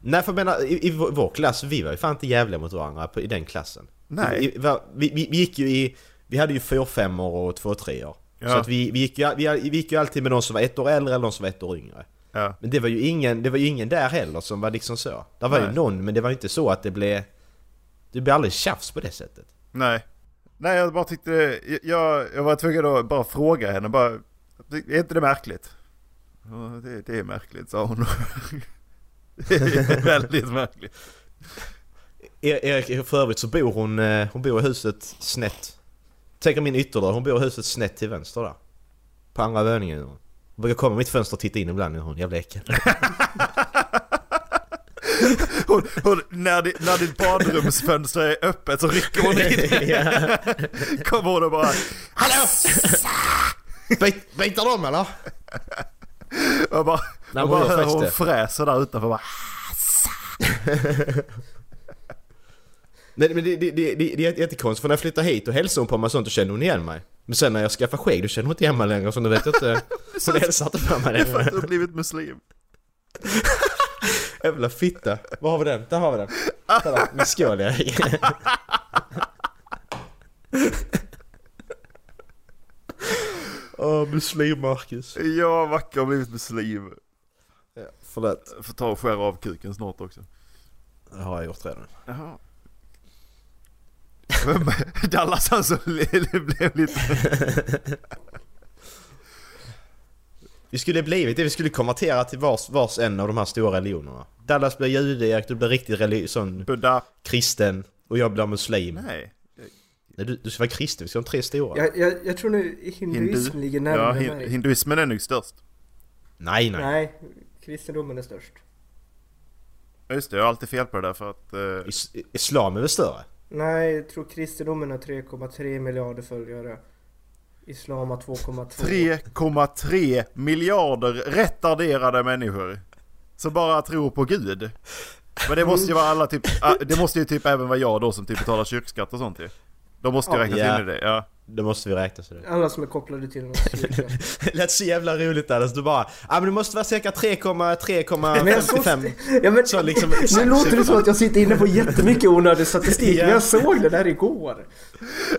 L: Nej för jag menar, i, i vår klass, vi var ju fan inte jävliga mot varandra på, i den klassen.
K: Nej.
L: I, vi, vi, vi, gick ju i, vi hade ju 4 5 och 2 3 år ja. Så att vi, vi, gick ju, vi, vi gick ju alltid med någon som var ett år äldre eller någon som var ett år yngre.
K: Ja.
L: Men det var ju ingen, det var ju ingen där heller som var liksom så. Det var Nej. ju någon, men det var ju inte så att det blev... Det blev aldrig tjafs på det sättet.
K: Nej. Nej, jag bara tyckte jag, jag var tvungen att bara fråga henne bara, är inte det märkligt? Det, det är märkligt, sa hon. det är väldigt märkligt.
L: Erik, för övrigt så bor hon, eh, hon bor i huset snett. Tänk om min ytterdörr, hon bor i huset snett till vänster där. På andra våningen. Hon brukar komma i mitt fönster och titta in ibland, hon jävla äckel.
K: Hon, hon, när, di, när ditt badrumsfönster är öppet så rycker hon in. ja. Kommer hon och bara Hallå!
L: Bit, bitar de eller?
K: Och bara, Nej, och bara hör hon det. fräser där utanför bara
L: Nej men det, det, det, det är jättekonstigt för när jag flyttade hit och hälsade hon på mig och sånt och kände hon igen mig. Men sen när jag skaffade skägg då kände hon inte igen mig längre så nu vet jag inte. Hon hälsar inte på mig längre.
K: Det är för att du har blivit muslim.
L: Jävla fitta. Var har vi den? Där har vi den. Kolla, min skål Erik. Åh, muslim Marcus.
K: Ja, Macke har blivit muslim.
L: Ja, förlåt.
K: Får ta och skära av kuken snart också.
L: Det har jag gjort redan.
K: Jaha. Dallas han så blev lite...
L: Vi skulle blivit det, vi skulle konvertera till vars, vars en av de här stora religionerna. Dallas blir jude, Erik du blir riktigt relig- sån
K: Buddha.
L: kristen och jag blir muslim.
K: Nej.
L: Nej du, du ska vara kristen, vi ska ha de tre stora.
M: Jag, jag, jag tror nu hinduismen Hindu. ligger närmare ja, hin,
K: mig. Hinduismen är nog störst.
L: Nej, nej.
M: Nej, kristendomen är störst.
K: Just det, jag har alltid fel på det där för att... Uh...
L: Is- islam är väl större?
M: Nej, jag tror kristendomen har 3,3 miljarder följare. Islam har 2,2.
K: 3,3 miljarder retarderade människor. Som bara tror på Gud. Men det måste ju vara alla typ, ah, det måste ju typ även vara jag då som typ betalar kyrkskatt och sånt ju. De måste ju
M: Ja.
K: räknas
L: Ja.
K: in i det, ja.
L: Det måste vi räkna så det.
M: Alla som är kopplade till något kyrka.
L: Lät så jävla roligt Alice, du bara ah, men det måste vara cirka
M: Men jag såg-
L: 3,3,55
M: ja, men,
L: Så liksom
M: Nu låter det som att jag sitter inne på jättemycket onödig statistik,
K: Ja.
M: men jag såg det där igår.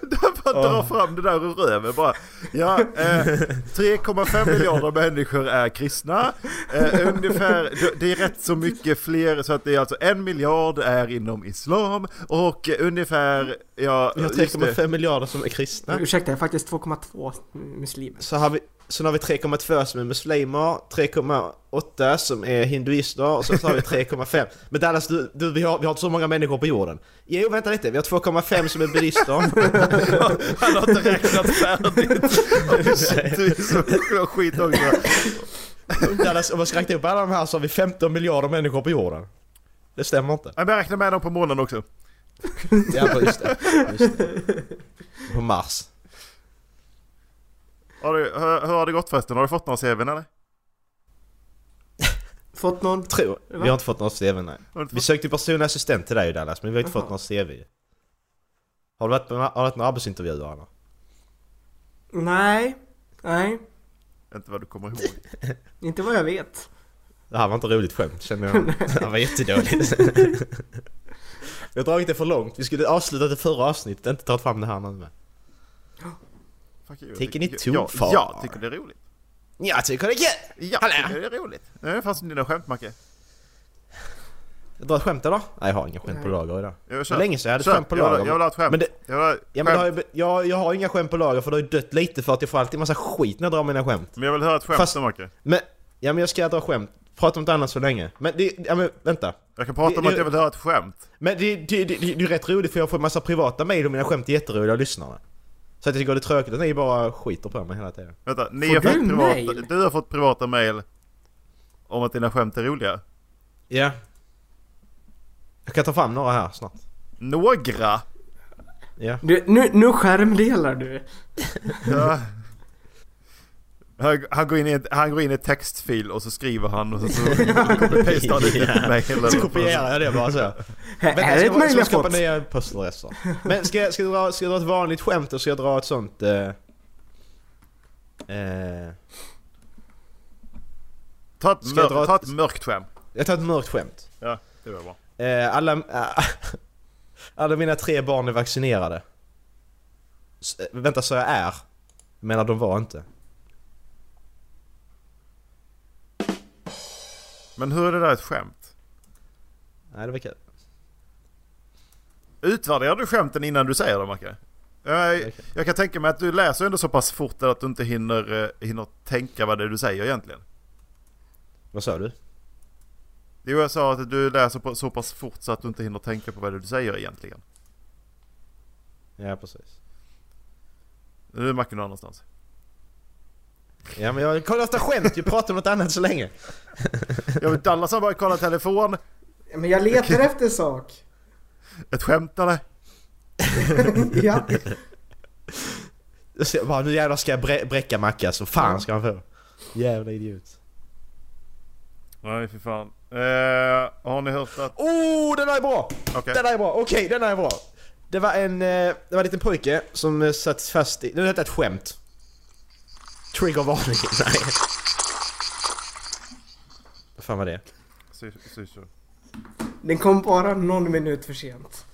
K: Bara dra fram det där ur röven bara. Ja, eh, 3,5 miljarder människor är kristna. Eh, ungefär, det är rätt så mycket fler så att det är alltså en miljard är inom islam och ungefär, ja...
L: Vi har
K: just det.
L: 3,5 miljarder som är kristna
M: Ursäkta, jag är faktiskt 2,2 muslimer.
L: Så har vi, sen har vi 3,2 som är muslimer, 3,8 som är hinduister och sen så har vi 3,5 Men Dallas du, du vi, har, vi har inte så många människor på jorden Jo vänta lite, vi har 2,5 som är buddister Han har inte räknat färdigt
K: Shit, vi är så jävla skit också.
L: Dallas om man ska räkna upp alla de här så har vi 15 miljarder människor på jorden Det stämmer inte
K: Ja, men jag räknar med dem på månen också.
L: Ja, just det. Just det. På Mars.
K: Har du, hur, hur har det gått förresten? Har du fått några CVn eller?
M: Fått någon?
L: Tror. Vi har inte fått något CV nej.
K: du inte
L: Vi sökte personlig assistent till dig Dallas, men vi har inte fått något CV. Har du varit på har du varit några arbetsintervjuer Anna?
M: Nej, nej.
K: Inte vad du kommer ihåg.
M: Inte vad jag vet.
L: Det här var inte roligt skämt känner jag. Det här var jättedåligt. Vi har dragit det för långt. Vi skulle avsluta det förra avsnittet, inte tagit fram det här nu med.
K: Fuck you.
L: Tycker ni
K: Jag-
L: tog
K: jag,
L: far?
K: jag tycker det är roligt.
L: Jag tycker det är kul!
K: Ja, tycker det är roligt. Nu fanns det dina skämt Macke.
L: Jag drar ett skämt eller? Nej jag har inga skämt på
K: Nej.
L: lager idag.
K: Jag
L: Det
K: kör.
L: var länge sedan jag hade
K: Kör.
L: ett skämt på
K: Jag vill-
L: lager.
K: jag vill ha ett skämt.
L: Men det,
K: Jag vill ha ett
L: ja, men det har
K: skämt.
L: jag, jag, jag har inga skämt på lager för det har ju dött lite för att jag får alltid massa skit när jag drar mina skämt.
K: Men jag vill höra ett skämt
L: Fast-
K: då Macke.
L: Men, ja men jag ska dra skämt. Prata om något annat så länge. Men det, ja men vänta.
K: Jag kan prata om
L: Det-
K: att jag vill höra ett skämt.
L: Men det, det, det, det, det är rätt roligt för jag får en massa privata mejl och mina skämt är jätteroliga av lyssnarna. Så att jag tycker det är tråkigt att ni bara skiter på mig hela tiden.
K: Vänta, ni
M: Får
K: har
M: du
K: fått privata,
M: mail?
K: du har fått privata mail om att dina skämt är roliga.
L: Ja. Jag kan ta fram några här snart.
K: Några!
L: Ja.
M: Du, nu, nu skärmdelar du.
K: Ja. Han, han, går in i ett, han går in i ett textfil och så skriver han och så, så copy-pastar han lite
L: Ja.
K: mail.
L: Så kopierar jag det bara så.
M: Här
L: Vänta, jag
M: är
L: ska
M: ett
L: bara-
M: mejl
L: ska
M: jag
L: skapa
M: fått.
L: nya postadresser. Men ska, jag- ska, jag dra, ska jag dra ett vanligt skämt och ska jag dra ett sånt... Eh, eh,
K: Ta ett,
L: Ska jag dra
K: mör,
L: ett-
K: ta ett mörkt skämt.
L: jag tar ett mörkt skämt.
K: Ja, det var bra.
L: Eh, alla, alla mina tre barn är vaccinerade. S eh, vänta, så jag är? Jag menar, de var inte.
K: Men hur är det där ett skämt?
L: Nej, det var kul.
K: Utvärderar du skämten innan du säger dem Macke? Jag, jag kan tänka mig att du läser ändå så pass fort att du inte hinner, eh, hinner tänka vad det är du säger egentligen.
L: Vad sa du?
K: Jo jag sa att du läser på, så pass fort så att du inte hinner tänka på vad det är du säger egentligen.
L: Ja, precis.
K: Nu är Macke någon annanstans.
L: Ja, men jag kollar efter skämt. Jag pratar om något annat så länge.
K: Jag vill Dallas har bara kollat telefon.
M: Men jag letar efter sak.
K: Ett skämt eller?
M: Ja.
L: Jag ser bara, nu jävlar ska jag brä- bräcka Macka, så fan ska han få. Jävla idiot.
K: Nej för fan. Eh, har ni hört att...
L: Oh, den där är bra!
K: Okej.
L: Den där är bra, okej den där är bra. Det var en, eh, det var en liten pojke som eh, satt fast i, nu är detta ett skämt. Triggervarning, nej. Vad fan var det?
K: Sy- sy- sy.
M: Den kom bara någon minut för sent.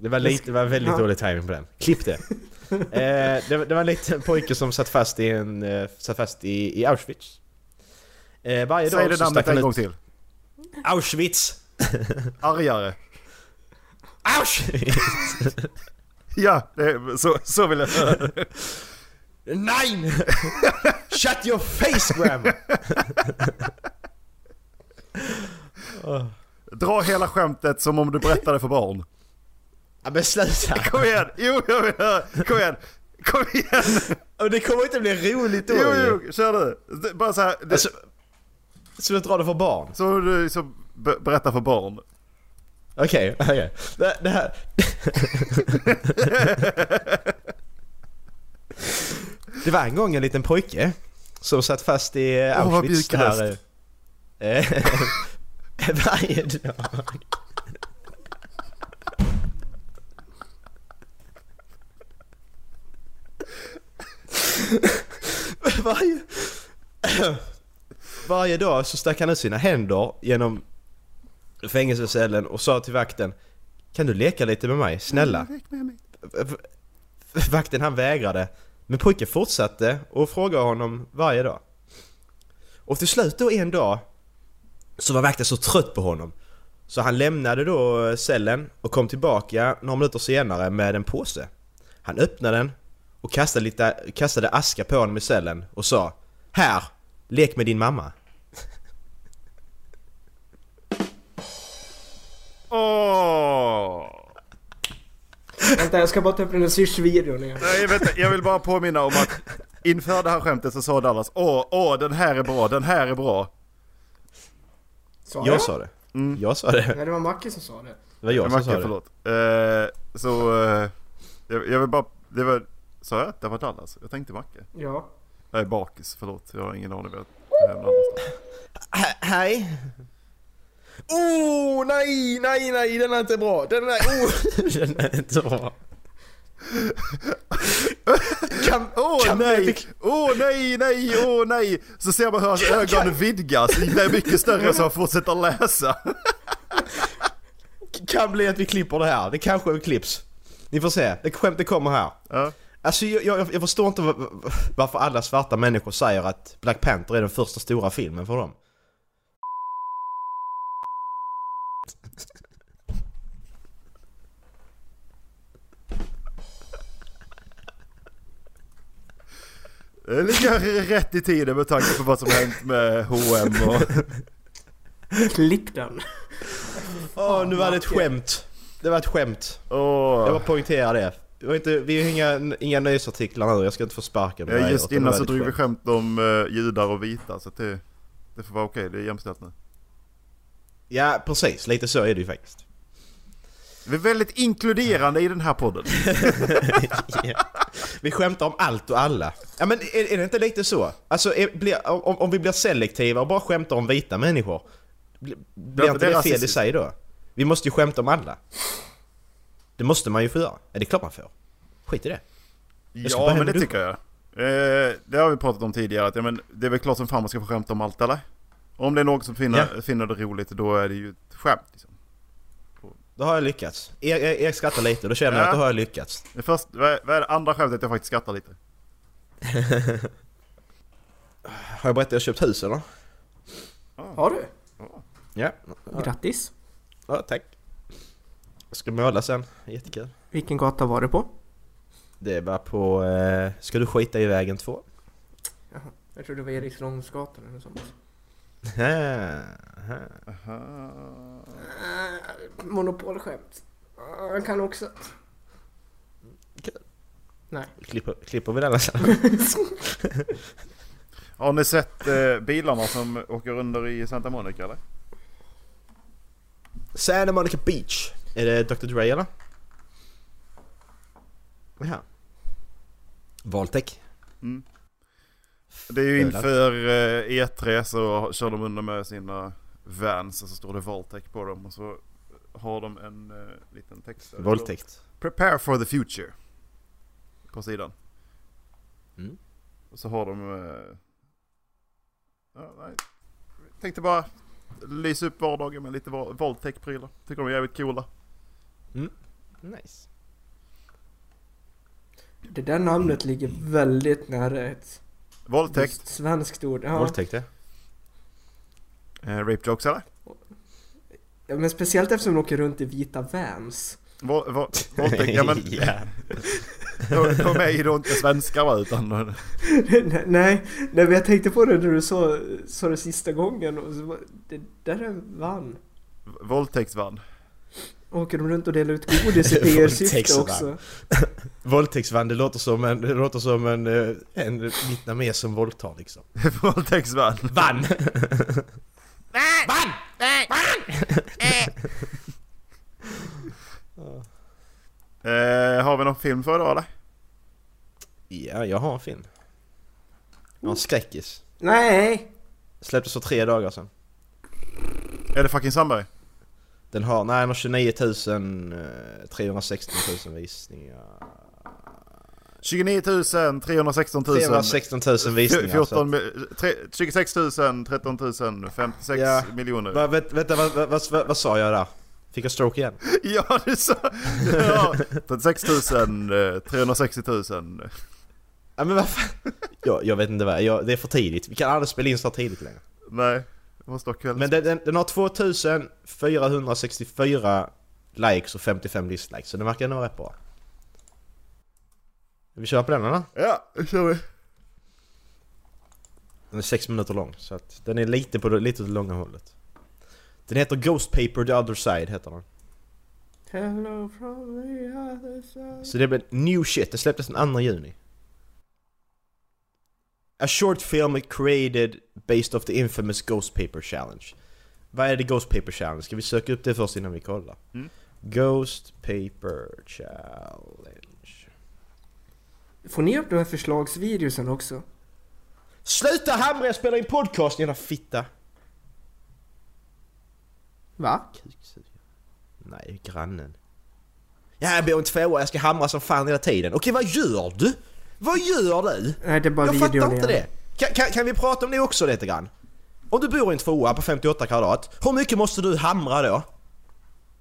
L: Det var, lite, det var väldigt
M: Ja.
L: dålig timing på den. Klipp det. eh, det, var- det var en liten pojke som satt fast i en, eh, satt fast i, i Auschwitz. Eh, varje
K: Säg
L: dag
K: det
L: så
K: namnet
L: stack han
K: en
L: ut...
K: gång till.
L: Auschwitz!
K: Argare.
L: Auschwitz!
K: Ja, det, är- så, så vill jag höra.
L: Nein! Shut your face grandma!
K: Dra hela skämtet som om du berättade för barn.
L: Ja men sluta!
K: Kom igen! Jo, jag vill höra! Kom igen! Kom igen!
L: Och det kommer inte bli roligt då
K: Jo,
L: ju.
K: jo, kör du! Det- Bara så här, det,
L: Alltså, så jag drar det för barn.
K: som du liksom be- berättar för barn.
L: Okej, okej. Det, det här... det var en gång en liten pojke som satt fast i eh,
K: Åh, vad
L: Auschwitz. det här,
K: bjudkast.
L: eh, Varje dag. Varje... Varje dag så stack han ut sina händer genom fängelsecellen och sa till vakten Kan du leka lite med mig? Snälla? V- v- Vakten han vägrade Men pojken fortsatte och frågade honom varje dag Och till slut då en dag Så var vakten så trött på honom Så han lämnade då cellen och kom tillbaka några minuter senare med en påse Han öppnade den och kastade, lite, kastade aska på honom i cellen och sa Här! Lek med din mamma!
K: Åh!
M: Vänta, jag ska bara ta upp den där Swish-videon igen.
K: Nej, vänta, jag vill bara påminna om att inför det här skämtet så sa Dallas Åh, åh, den här är bra, den här är bra.
M: Sa
L: Jag sa det. Jag sa det.
M: Nej, det var Macke som sa det.
L: Det var jag som
K: Macke,
L: sa det.
K: förlåt. Eh, så, eh, jag, jag vill bara... Det var... Sa jag att det var Dallas? Jag tänkte Macke.
M: Ja.
K: Jag är bakis, förlåt. Jag har ingen aning vad jag hamnade någonstans.
L: He- Hej. Oh, nej, nej, nej, den är inte bra. Den är... Oh. den är inte bra. Kan,
K: Åh
L: kan
K: nej! Åh nej, nej, åh nej! Så ser man hur hans ögon vidgas. Det är mycket större så han fortsätter läsa.
L: kan bli att vi klipper det här. Det kanske klipps. Ni får se. Det skämtet kommer här.
K: Ja.
L: Alltså jag, jag, jag förstår inte va- va- varför alla svarta människor säger att Black Panther är den första stora filmen för dem.
K: Det ligger rätt i tiden med tanke på vad som hänt med H&M och...
M: Klipp den.
L: Åh, nu var det ett skämt. Det var ett skämt. Jag
K: Åh.
L: bara poängterar det. Det var inte, vi har inga, inga nyhetsartiklar nu, jag ska inte få sparken.
K: Ja, just innan så drog vi
L: själv.
K: skämt om eh, judar och vita så att det, det får vara okej, det är jämställt nu.
L: Ja, precis. Lite så är det ju faktiskt.
K: Vi är väldigt inkluderande i den här podden.
L: Ja. Vi skämtar om allt och alla. Ja men är, är det inte lite så? Alltså är, blir, om, om vi blir selektiva och bara skämtar om vita människor. bli- Blir
K: Ja,
L: inte
K: det är
L: det fel i
K: rasistiskt.
L: sig då? Vi måste ju skämta om alla. Det måste man ju få göra. Ja det är klart man får. Skit i det.
K: Ja,
L: ska bara
K: men
L: hända
K: det
L: upp.
K: tycker jag. Eh, det har vi pratat om tidigare, att ja, men det är väl klart som fan man ska få skämta om allt eller? Om det är någon som finner, finner det roligt, då är det ju ett skämt. Liksom.
L: Då har jag lyckats. E, Er, er, er skrattar lite, då känner jag
K: Ja.
L: att då har jag lyckats.
K: Det först, vad, är, vad är det andra skämtet jag faktiskt skrattar lite?
L: Har jag berättat att jag köpt hus eller?
M: Har du?
L: Ja.
M: Grattis.
L: ja tack. Jag ska måla sen. Jättekul.
M: Vilken gata var det på?
L: Det var på... Eh, ska du skita i vägen 2?
M: Jag tror det var Eriksdalsgatan eller något sånt. Äh, monopolskämt. Äh, Han kan också...
L: Kul.
M: Nej.
L: Klipper, klipper vi den alltså? sen?
K: Har ni sett eh, bilarna som åker under i Santa Monica eller?
L: Santa Monica Beach. Är det Dr Dre eller? Ja. Valtech.
K: Det är ju inför eh, E3 så kör de under med sina vans och så står det Voltec på dem och så har de en eh, liten text där.
L: Våldtäkt.
K: Prepare for the future. På sidan.
L: Mm.
K: Och så har de... eh, Ja, nej. Tänkte bara lysa upp vardagen med lite Vol- Voltec-prylar. Tycker de är jävligt coola.
L: Nice.
M: Det där namnet ligger väldigt nära ett
K: Voltec.
M: just svenskt ord. Ja.
L: Våldtäkt ja.
K: Eh, rape jokes eller?
M: Ja, men speciellt eftersom de åker runt i vita Vans.
K: Vol- vol- Voltec, ja men
L: Ja.
K: de, de är ju då inte svenskar va, utan... de-
M: nej, nej, nej, men jag tänkte på det när du sa, sa det sista gången. Och så, var- det där är en van.
K: Voltex vann.
M: Åker de runt och delar ut godis i PR-syfte
L: Våldtäktsvan.
M: också?
L: Våldtäktsvagn, det låter som en, det låter som en, eh, en vietnames som våldtar liksom.
K: Voltex vann.
L: Vann!
K: Eh, någon film för idag eller?
L: Ja, jag har en film. Jag har en skräckis.
M: Nej!
L: Släpptes för tre dagar sedan.
K: Är det fucking Sandberg?
L: Den har, nej den har 29 000, eh, 316 000 visningar.
K: 29 000, 316 000.
L: 316 000 visningar.
K: 14, tre, 26 000, 13 000, 56
L: Ja.
K: miljoner.
L: Va, vä, vänta, vad vad vad- vad sa jag där? Fick jag stroke igen?
K: Ja, du sa... Ja, 36 000, eh, 360 000.
L: Ja, men vad fan? Jag, jag vet inte vad, jag, det är för tidigt. Vi kan aldrig spela in så här tidigt längre.
K: Nej, det måste vara kväll.
L: Men den, den, den har 2464 likes och 55 dislikes, så den verkar nog vara rätt bra. Vi kör på den eller?
K: Ja, nu kör vi.
L: Den är 6 minuter lång, så att den är lite på det, lite åt det långa hållet. Den heter Ghost Paper The Other Side, heter den.
M: Hello from the other side.
L: Så det blev new shit, det släpptes den 2 juni. A short film created based off the infamous Ghost Paper Challenge. Vad är det Ghost Paper Challenge? Ska vi söka upp det först innan vi kollar?
K: Mm.
L: Ghost Paper Challenge.
M: Får ni upp de här förslagsvideosen också?
L: Sluta hamra, jag spelar in podcast jävla fitta!
M: Va?
L: Kuksugare. Nej, grannen. Ja, jag bor i en tvåa, jag ska hamra som fan hela tiden. Okej, vad gör du? Vad gör du?
M: Nej, det är bara
L: Jag
M: videon
L: fattar inte
M: igen.
L: det. Kan, kan, kan vi prata om det också lite grann? Om du bor i en tvåa på 58 kvadrat, hur mycket måste du hamra då?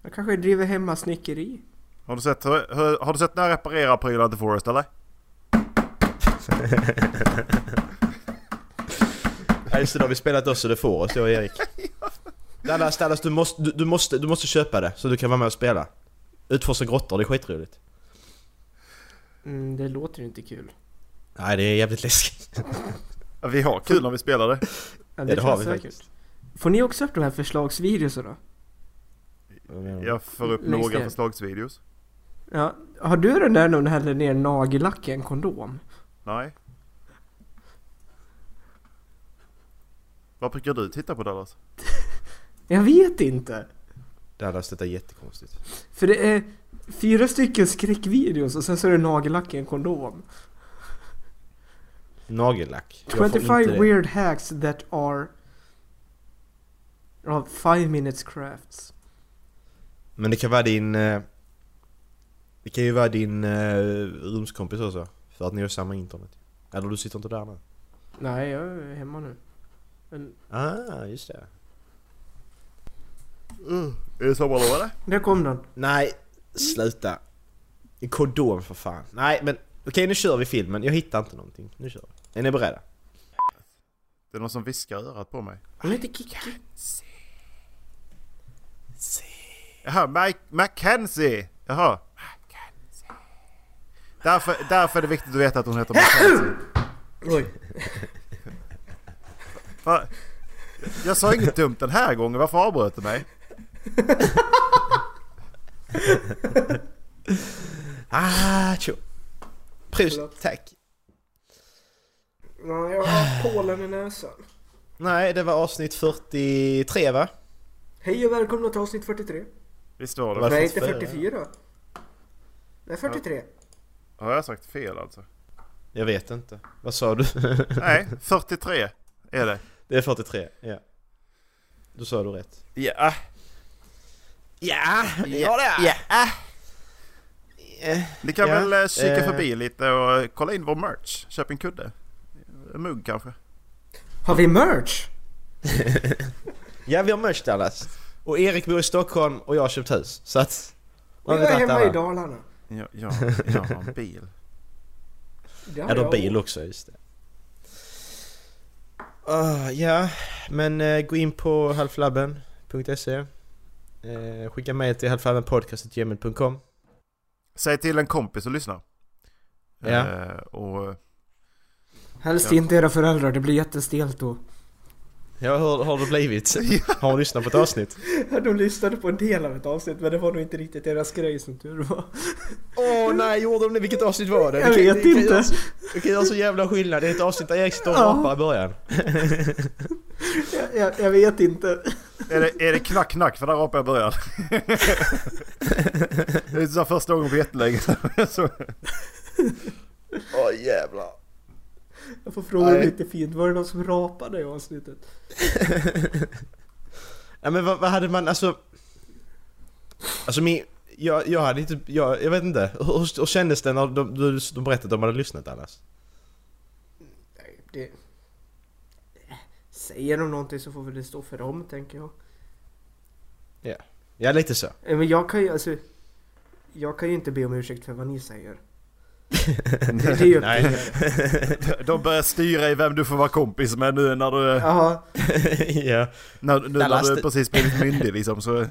M: Jag kanske driver hemma snickeri.
K: Har du sett, har, har du sett när jag reparerar prylar till Forrest eller?
L: Ja just det, då har vi spelat också det får oss, jag och Erik. Dallas, Dallas du, måste, du, du, måste, du måste köpa det så du kan vara med och spela. Utforska grottor, det är skitroligt.
M: Mm, det låter ju inte kul.
L: Nej, det är jävligt läskigt.
K: Ja, Vi har kul när vi spelar det.
M: Ja,
L: det
M: tror
L: har
M: jag
L: vi
M: säkert.
L: faktiskt.
M: Får ni också upp de här förslagsvideorna?
K: Jag får upp
M: Längst
K: några
M: ner.
K: förslagsvideos.
M: Ja. Har du den där när hon häller ner nagellack i en kondom?
K: Nej. Vad brukar du titta på Dallas?
M: Jag vet inte.
L: Dallas, detta är jättekonstigt.
M: För det är fyra stycken skräckvideos och sen så är det nagellack i en kondom.
L: Nagellack. Jag får
M: 25
L: inte det.
M: weird hacks that are... Ja, 5 minutes crafts.
L: Men det kan vara din... eh, Det kan ju vara din eh, rumskompis också. För att ni har samma internet. Eller du sitter inte där nu?
M: Nej, jag är hemma nu. Men
L: Ah, just det.
K: Är det sommarlov eller?
M: där kom den.
L: Nej, sluta. En kondom för fan. Nej men okej nu kör vi filmen. Jag hittar inte någonting. Nu kör vi. Är ni beredda?
K: Det är någon som viskar i örat på mig.
M: Hon heter Kikki.
K: Jaha, Mike Mackenzie! Jaha. Därför, därför är det viktigt att veta att hon heter Mackenzie.
M: Oj.
K: Va? Jag sa inget dumt den här gången, varför avbröt du mig?
L: Ah, tjo. Prost,
M: Förlåt.
L: tack.
M: Ja, jag har pollen i näsan.
L: Nej, det var avsnitt 43 va?
M: Hej och välkomna till avsnitt 43.
K: Visst var det?
L: Varför?
M: Nej, inte
L: 44.
M: 44. Nej, 43.
K: Har jag sagt fel alltså?
L: Jag vet inte. Vad sa du?
K: Nej, 43 är det.
L: det är 43, ja. Då sa du rätt.
K: Ja.
L: Ja, ja det är.
K: Ni kan
L: Ja.
K: väl eh, kika
L: Eh.
K: förbi lite och eh, kolla in vår merch. Köp en kudde. En mugg kanske.
M: Har vi merch?
L: Ja, vi har merch Dallas. Och Erik bor i Stockholm och jag har köpt hus. Så att...
M: Och jag är hemma i Dalarna.
K: Ja, ja, jag har en bil.
M: Det har
L: Ja, du har
M: jag.
L: bil också, just det. Ah, ja, men eh, gå in på halflabben.se eh, Skicka mejl till halflabbenpodcast.gmail.com
K: Säg till en kompis och lyssna.
L: Ja.
K: Eh, och
M: Helst
K: Ja.
M: inte era föräldrar, det blir jättestelt då.
L: Ja, hur har det blivit? Har hon lyssnat på ett avsnitt?
M: De lyssnade på en del av ett avsnitt men det var nog inte riktigt deras grej som tur var.
L: Åh nej, gjorde de det? Vilket avsnitt var det?
M: Jag
L: Det kan-
M: vet
L: det kan
M: inte.
L: göra så- Det kan göra så jävla skillnad. Det är ett avsnitt där Erik står och
M: Ja.
L: rapar i början.
M: Jag, jag, jag vet inte.
K: Är det, är det knack knack? För där rapade jag början. det är så första gången på jättelänge. Så-
N: Åh jävlar.
M: Jag får fråga
L: Nej.
M: lite fint, var det någon som rapade i avsnittet?
L: Ja, men vad, vad hade man, alltså... Alltså min... Jag, jag hade inte, jag, jag vet inte. Hur, hur, hur kändes det när de, de, de berättade att de hade lyssnat annars?
M: Det... Säger de någonting så får väl det stå för dem, tänker jag.
L: Ja. Ja, lite så.
M: Eh, Men jag kan ju alltså... Jag kan ju inte be om ursäkt för vad ni säger. Det är ju upp till er.
K: De- De börjar styra i vem du får vara kompis med nu när du...
M: Ja.
L: ja.
K: När, nu när
L: Dallas-
K: du precis blivit myndig liksom så...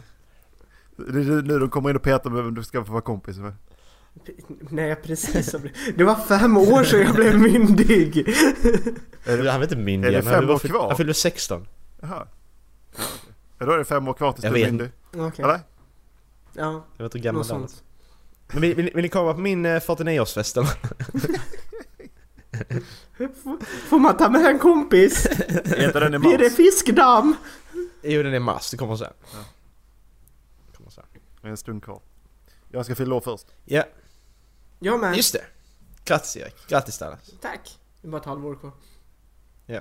K: Det är nu de kommer in och petar med vem du ska få vara kompis med.
M: Nej, jag precis har blivit- Det var fem år sedan jag blev myndig!
L: han var inte myndig
K: är det
L: än, han
K: fem
L: var
K: år
L: fyll-
K: kvar?
L: Han fyllde 16.
K: Jaha. Ja, då är det fem år kvar tills
L: Jag
K: du är
L: vet.
K: myndig.
M: Okej.
K: Eller?
M: Ja.
L: Jag vet inte hur gammal
M: Något
L: han var.
M: sånt.
L: Men vill, vill, vill ni komma på min eh, 49-årsfest eller?
M: Får- Får man ta med en kompis?
L: Heter den i
M: Blir det
L: mars?
M: fiskdamm?
L: Jo, den är i mars. Det kommer sen. Kommer sen.
K: Det är en stund kvar. Jag ska fylla år först.
L: Ja.
M: Jag med.
L: Just det. Grattis Erik. Grattis Dallas.
M: Tack! Det är bara ett halvår kvar.
L: Ja.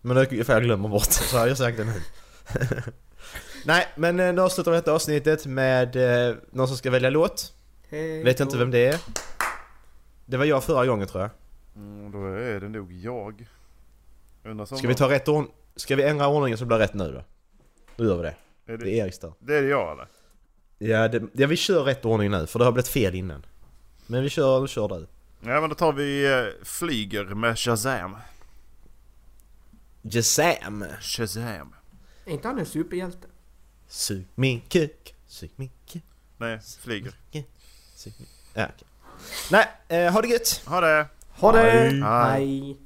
L: Men det ifall jag glömmer bort så har jag sagt det nu. Nej, men eh, nu avslutar vi detta avsnittet med eh, någon som ska välja låt.
M: Hej
L: Vet jag
M: då.
L: inte vem det är. Det var jag förra gången tror jag.
K: Mm, då är det nog jag. Undrar som
L: Ska vi ta rätt ordning? Ska vi ändra ordningen så det blir rätt nu då? Då gör vi det.
K: Är det-
L: det... är Eriks tur.
K: Det är det jag eller?
L: Ja, det, ja, vi kör rätt ordning nu för det har blivit fel innan. Men vi kör, vi kör du.
K: Ja men då tar vi eh, Flyger med Shazam.
L: Jazam!
K: Shazam.
M: Är inte han en superhjälte?
L: Sug min kuk, sug min kuk.
K: Nej, Flyger.
L: Ja, okej. Nej, eh, ha det gött!
K: Ha det!
M: Ha det!
L: Hej.
M: Hej.